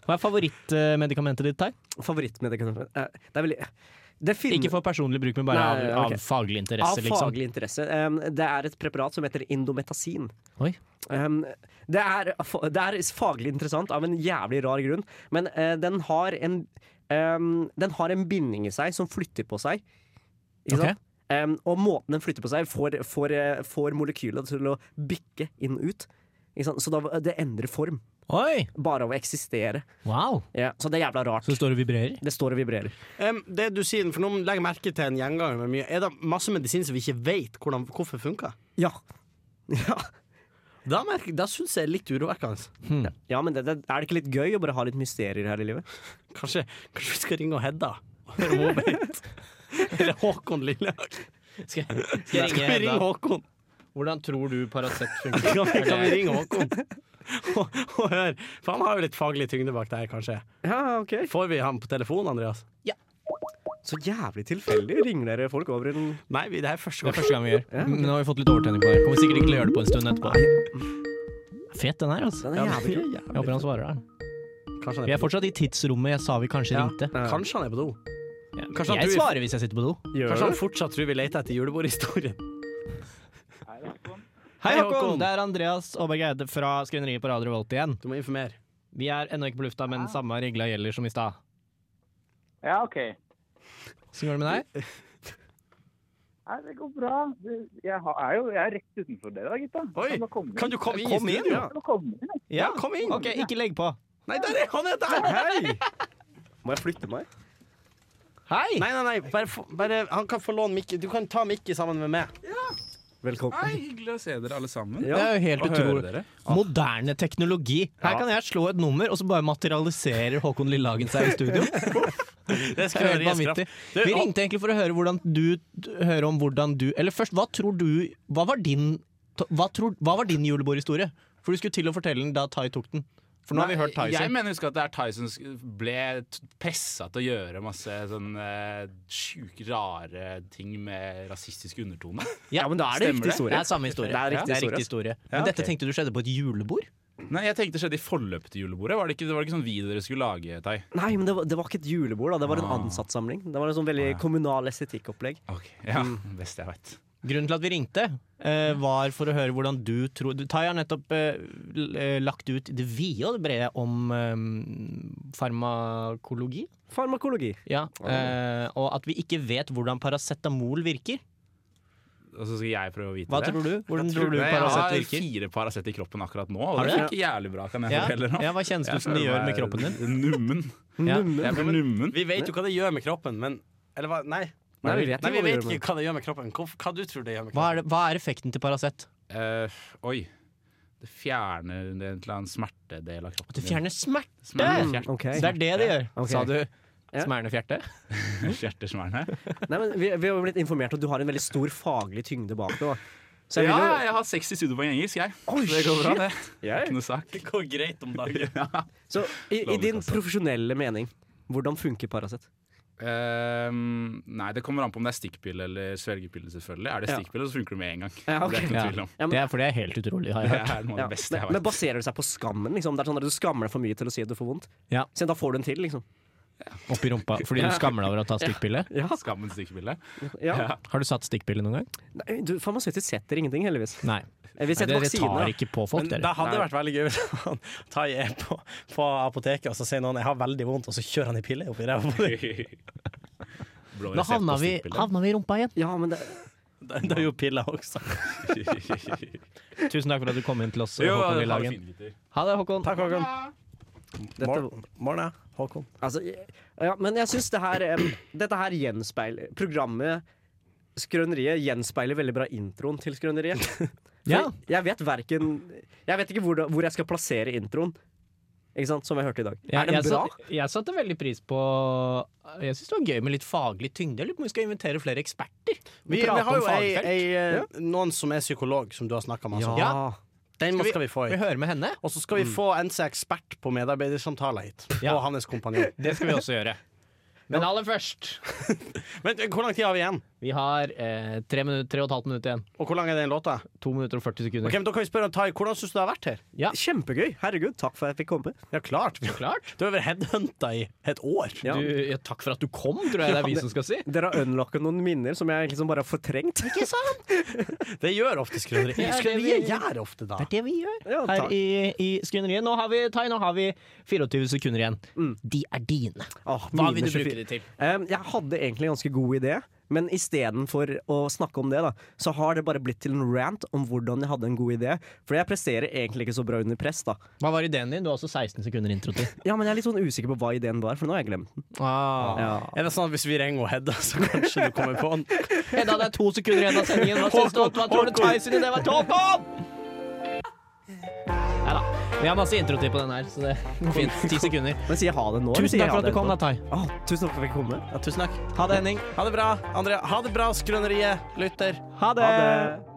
Speaker 2: Hva er favorittmedikamentet ditt, Tai?
Speaker 4: Favorittmedikamentet eh, Det er vel det finnes-
Speaker 2: Ikke for personlig bruk, men bare
Speaker 4: Nei,
Speaker 2: av,
Speaker 4: ok.
Speaker 2: av faglig
Speaker 4: Av
Speaker 2: interesse, liksom.
Speaker 4: faglig interesse. Um, det er et preparat som heter indometasin.
Speaker 2: Oi.
Speaker 4: Um, det, er, det er faglig interessant av en jævlig rar grunn, men eh, den har en um, Den har en binding i seg som flytter på seg. Ikke
Speaker 2: Ok.
Speaker 4: sant? Um, og måten den flytter på seg, får, får, eh, får molekylet til å bikke inn og ut. Ikke sant? Så da, det endrer form.
Speaker 2: Oi!
Speaker 4: Bare av å eksistere.
Speaker 2: Wow!
Speaker 4: Ja, så det er jævla rart.
Speaker 2: Så det står og vibrerer?
Speaker 4: Det står og vibrerer.
Speaker 3: Em, det du sier, for noen legger merke til en gjenganger med mye, er det masse medisin som vi ikke vet hvordan, hvorfor funker?
Speaker 4: Ja. ja.
Speaker 3: Da, merker- da syns jeg er litt urovekkende.
Speaker 4: Ja, men det, det, er det ikke litt gøy å bare ha litt mysterier her i livet?
Speaker 3: Kanskje, kanskje vi skal ringe og Hedda og høre om hun vet? Eller Håkon Lillehag.
Speaker 2: Skal,
Speaker 3: Skal
Speaker 2: jeg
Speaker 3: vi ringe Håkon?
Speaker 2: Hvordan tror du Paracet funker?
Speaker 3: Kan vi, kan vi ringe Håkon? Og, og hør, for han har jo litt faglig tyngde bak det her, kanskje.
Speaker 4: Ja, ok
Speaker 3: Får vi ham på telefon, Andreas?
Speaker 4: Så jævlig tilfeldig ringer dere folk over en
Speaker 3: Nei, vi, det her er første
Speaker 2: Det er
Speaker 3: gang.
Speaker 2: første gang vi gjør. Men nå har vi fått litt overtenning på det. her. Kommer sikkert ikke til å gjøre det på en stund etterpå. Fet den her, altså.
Speaker 4: Den er jævlig kul.
Speaker 2: Jeg håper han svarer da.
Speaker 3: Kanskje
Speaker 2: Vi
Speaker 3: han er
Speaker 2: er
Speaker 3: på do.
Speaker 2: fortsatt i tidsrommet jeg sa vi kanskje
Speaker 3: Ja.
Speaker 2: ringte.
Speaker 3: Kanskje han er på do.
Speaker 2: Ja.
Speaker 3: Kanskje han
Speaker 2: Jeg
Speaker 3: tror-
Speaker 2: svarer hvis jeg sitter på do.
Speaker 4: Gjør
Speaker 3: Kanskje
Speaker 4: du?
Speaker 3: han fortsatt tror vi leter etter julebordhistorien.
Speaker 2: Hei,
Speaker 3: Hei, Håkon.
Speaker 2: Håkon! Det er Andreas Aaberg Eide fra Skrøneriet på Radio Revolt igjen.
Speaker 3: Du må informere.
Speaker 2: Vi er ennå ikke på lufta, men samme regla gjelder som i stad.
Speaker 9: Ja, OK.
Speaker 2: Hvordan går det med deg?
Speaker 9: Nei, det går bra. Det- Jeg har- er jo jeg er rett utenfor dere, da, gutta.
Speaker 3: Oi,
Speaker 9: Jeg må komme inn.
Speaker 3: Kan du komme inn
Speaker 4: Kom
Speaker 3: i
Speaker 4: inn,
Speaker 3: studio?
Speaker 4: ja.
Speaker 9: Jeg må komme inn, jeg.
Speaker 3: Ja, kom inn.
Speaker 2: OK, ikke legg på.
Speaker 3: Nei, der er han! Er der. Hei.
Speaker 4: Må jeg flytte meg?
Speaker 2: Hei!
Speaker 3: Nei, nei, nei. Bare, få- bare, han kan få låne Mikke. Du kan ta Mikke sammen med meg.
Speaker 4: Velkommen.
Speaker 5: Hei, hyggelig å se dere alle sammen.
Speaker 4: Ja.
Speaker 2: Det er jo helt
Speaker 5: Og høre
Speaker 2: utrolig.
Speaker 5: dere.
Speaker 2: Moderne teknologi. Her kan jeg slå et nummer, og så bare materialiserer Håkon Lillehagen seg i studio.
Speaker 3: Det
Speaker 2: Det er helt vanvittig. Vi ringte egentlig for å høre hvordan du høre om hvordan du Eller først, hva tror du Hva var din Hva, tror, hva var din julebordhistorie? For du skulle til å fortelle den da Tai tok den. For nå har vi hørt Tai
Speaker 10: Jeg
Speaker 2: sin.
Speaker 10: mener husk at det er Ty som sk- ble pressa til å gjøre masse sånn eh, sjuke, rare ting med rasistisk undertone.
Speaker 4: Ja, men da er det
Speaker 10: Stemmer det?
Speaker 4: riktig
Speaker 2: Det
Speaker 4: historie.
Speaker 2: er samme historie.
Speaker 4: Det er riktig
Speaker 2: historie. Men dette tenkte du skjedde på et julebord?
Speaker 10: Nei, jeg tenkte det skjedde i forløpet til julebordet. Var det ikke, det var ikke sånn video dere skulle lage, Ty?
Speaker 4: Nei, men det var, det var ikke et julebord, da. Det var en ansattsamling. Det var en sånn veldig kommunal estetikkopplegg.
Speaker 10: Ok, ja,
Speaker 2: Mm.
Speaker 10: best jeg vet.
Speaker 2: Grunnen til at vi ringte, eh, var for å høre hvordan du tror du- Tai har nettopp eh, l- eh, lagt ut det vide og det brede om eh, farmakologi.
Speaker 4: Farmakologi.
Speaker 2: Ja, eh, og at vi ikke vet hvordan paracetamol virker.
Speaker 10: Og så skal jeg prøve å vite
Speaker 2: Hva
Speaker 10: det.
Speaker 2: tror du? Hvordan tror du
Speaker 10: Nei, jeg
Speaker 2: Paracet
Speaker 10: har
Speaker 2: virker?
Speaker 10: fire Paracet i kroppen akkurat nå, og
Speaker 2: Har du
Speaker 10: det
Speaker 2: det?
Speaker 10: funker jævlig bra, kan jeg
Speaker 2: Ja,
Speaker 10: fortelle nå.
Speaker 2: ja, hva kjennes det ut som det
Speaker 10: Jeg
Speaker 2: gjør med
Speaker 10: føler
Speaker 2: kroppen din?
Speaker 10: meg Nummen.
Speaker 4: Nummen.
Speaker 10: Jeg blir nummen.
Speaker 3: Vi vet jo hva det gjør med kroppen, men Eller hva? Nei.
Speaker 4: Nei, vi vet
Speaker 3: Nei, vi
Speaker 4: ikke hva det
Speaker 3: vet
Speaker 4: gjør med-
Speaker 3: ikke hva det gjør med kroppen. Hva, hva du tror det gjør med
Speaker 2: Hva
Speaker 3: kroppen?
Speaker 2: er, det, hva er effekten til Paracet?
Speaker 10: Eh, oi. Det fjerner en eller annen smertedel av kroppen.
Speaker 2: Det fjerner smerte!
Speaker 10: Smerter-
Speaker 4: Mm,
Speaker 10: fjert-
Speaker 4: ok.
Speaker 2: Det er det det gjør.
Speaker 4: Ok.
Speaker 2: Sa du
Speaker 4: Ja.
Speaker 2: smærende fjerte?
Speaker 10: Fjertesmerne.
Speaker 4: Nei, men vi, vi har jo blitt informert om at du har en veldig stor faglig tyngde bak deg. da. Så jeg
Speaker 10: Ja,
Speaker 4: vil jo
Speaker 10: jeg har 60 studiepoeng i engelsk, jeg.
Speaker 4: Oi,
Speaker 10: så det går bra, det.
Speaker 4: Ja.
Speaker 10: Ikke noe sak.
Speaker 3: Det går greit om dagen.
Speaker 4: Så i, i
Speaker 10: Lovlig,
Speaker 4: din
Speaker 10: altså.
Speaker 4: profesjonelle mening, hvordan funker Paracet?
Speaker 10: Ehm, nei, det kommer an på om det er stikkpille eller svelgepille, selvfølgelig. Er det
Speaker 4: Ja.
Speaker 10: stikkpille, så funker det med en gang.
Speaker 4: Ja, ok.
Speaker 10: Det er ikke
Speaker 2: Ja.
Speaker 10: noe tvil om.
Speaker 4: Ja, men-
Speaker 2: Det er fordi det er helt utrolig, har jeg
Speaker 10: Det
Speaker 2: hørt.
Speaker 10: er noe av
Speaker 4: Ja,
Speaker 10: det beste jeg
Speaker 4: men, men
Speaker 10: vet.
Speaker 4: baserer det seg på skammen? Liksom? Det er sånn at Du skammer deg for mye til å si at du får vondt.
Speaker 2: Ja.
Speaker 4: Så da får du en til, liksom.
Speaker 2: Oppi rumpa. Fordi du skammer deg over å ta stikkpille?
Speaker 4: Ja.
Speaker 10: Skammens stikkpille.
Speaker 4: Ja.
Speaker 2: Har du satt stikkpille noen gang?
Speaker 4: Nei, du, farmasøytisk setter ingenting, heldigvis.
Speaker 2: Nei.
Speaker 4: Eh, Vi
Speaker 2: Nei,
Speaker 4: setter
Speaker 2: Dere tar
Speaker 4: vaksine.
Speaker 2: ikke på folk,
Speaker 3: Men det
Speaker 2: dere.
Speaker 3: hadde vært veldig gøy hvis han Tai er på, på apoteket, og så sier noen 'jeg har veldig vondt', og så kjører han i pille oppi ræva på deg.
Speaker 10: Blå
Speaker 2: Da
Speaker 10: resept
Speaker 2: havna
Speaker 10: og
Speaker 2: vi,
Speaker 10: stikkpille.
Speaker 2: havna vi i rumpa igjen.
Speaker 4: Ja, men det,
Speaker 3: Det det er jo piller også.
Speaker 2: Tusen takk for at du kom inn til oss,
Speaker 10: Jo,
Speaker 2: Håkon
Speaker 10: ha det
Speaker 2: Lillehagen.
Speaker 10: fint, gutter.
Speaker 2: Ha det, Håkon.
Speaker 3: Takk, Håkon.
Speaker 4: dette,
Speaker 3: Morna, Håkon.
Speaker 4: altså, ja, men jeg syns det her em, Dette her gjenspeiler Programmet Skrøneriet gjenspeiler veldig bra introen til Skrøneriet. For
Speaker 2: Ja.
Speaker 4: Jeg vet verken Jeg vet ikke hvor, da- hvor jeg skal plassere introen, ikke sant, som jeg hørte i dag.
Speaker 2: Ja,
Speaker 4: er den
Speaker 2: jeg
Speaker 4: bra?
Speaker 2: satt- jeg satte veldig pris på Jeg syns det var gøy med litt faglig tyngde. Jeg lurer på om vi skal invitere flere eksperter. prater
Speaker 3: Vi, vi har
Speaker 2: om
Speaker 3: jo ei,
Speaker 2: fagfelt.
Speaker 3: ei, eh, noen som er psykolog, som du har snakka med. altså.
Speaker 2: Ja.
Speaker 3: Den må- skal vi få Mm.
Speaker 2: Vi
Speaker 3: i.
Speaker 2: hører med henne.
Speaker 3: Og så skal vi få NC ekspert på medarbeidersamtaler hit.
Speaker 2: Ja.
Speaker 3: Og hans kompanjong.
Speaker 2: Det skal vi også gjøre. Men aller først
Speaker 3: Men eh, hvor lang tid har vi igjen?
Speaker 2: Vi har eh, tre, minutter, tre og et halvt minutt igjen.
Speaker 3: Og hvor lang er den låta?
Speaker 2: To minutter og 40 sekunder.
Speaker 3: Ok, men da kan vi spørre Tai, hvordan syns du det har vært her?
Speaker 4: Kjempegøy. Herregud, takk for at jeg fikk komme.
Speaker 3: Ja, klart. Du
Speaker 2: Klart.
Speaker 3: har vært headhunta i et år.
Speaker 4: Ja.
Speaker 2: Du, ja, takk for at du kom, tror jeg det er vi som skal si.
Speaker 4: Dere har unlocka noen minner som jeg liksom bare har fortrengt. Ikke sant?
Speaker 3: Det gjør ofte skrøneriet.
Speaker 2: Ja, det
Speaker 3: Skrøneriet
Speaker 2: vi-
Speaker 3: gjør ofte da.
Speaker 2: Det er det vi gjør
Speaker 4: Ja,
Speaker 2: her
Speaker 4: takk.
Speaker 2: i, i Skrøneriet. Nå har vi, Tai, nå har vi 24 sekunder igjen.
Speaker 3: Mm.
Speaker 2: De er dine.
Speaker 4: Åh,
Speaker 2: Hva
Speaker 4: mine
Speaker 2: vil du
Speaker 4: 24.
Speaker 2: bruke de til?
Speaker 4: Ehm, jeg hadde egentlig en ganske god idé, men istedenfor å snakke om det, da, så har det bare blitt til en rant om hvordan jeg hadde en god idé. For jeg presterer egentlig ikke så bra under press, da.
Speaker 2: Hva var ideen din? Du har også 16 sekunder intro til.
Speaker 4: Ja, men jeg er litt sånn usikker på hva ideen var, for nå har jeg glemt den.
Speaker 2: Ah.
Speaker 4: Ja.
Speaker 3: Er det sånn at hvis vi ringer Hedda, så kanskje du kommer på den?
Speaker 2: Hedda, det er to sekunder igjen av sendingen. Hva syns du? Hva tror du Tai sin idé var topp om? Nei da. Vi har masse introtid på den her, så det går fint. Ti sekunder.
Speaker 4: Men sier jeg ha det nå? eller
Speaker 2: Tusen
Speaker 4: sier jeg
Speaker 2: takk
Speaker 4: ha
Speaker 2: for at
Speaker 4: det
Speaker 2: du kom,
Speaker 4: etterpå?
Speaker 2: da, Tai.
Speaker 4: Åh, tusen takk for at jeg fikk komme.
Speaker 3: Ja, tusen takk.
Speaker 2: Ha det, Henning.
Speaker 3: Ha det bra, Andrea. Ha det bra, Skrøneriet, lytter.
Speaker 2: Ha det.
Speaker 4: Ha det.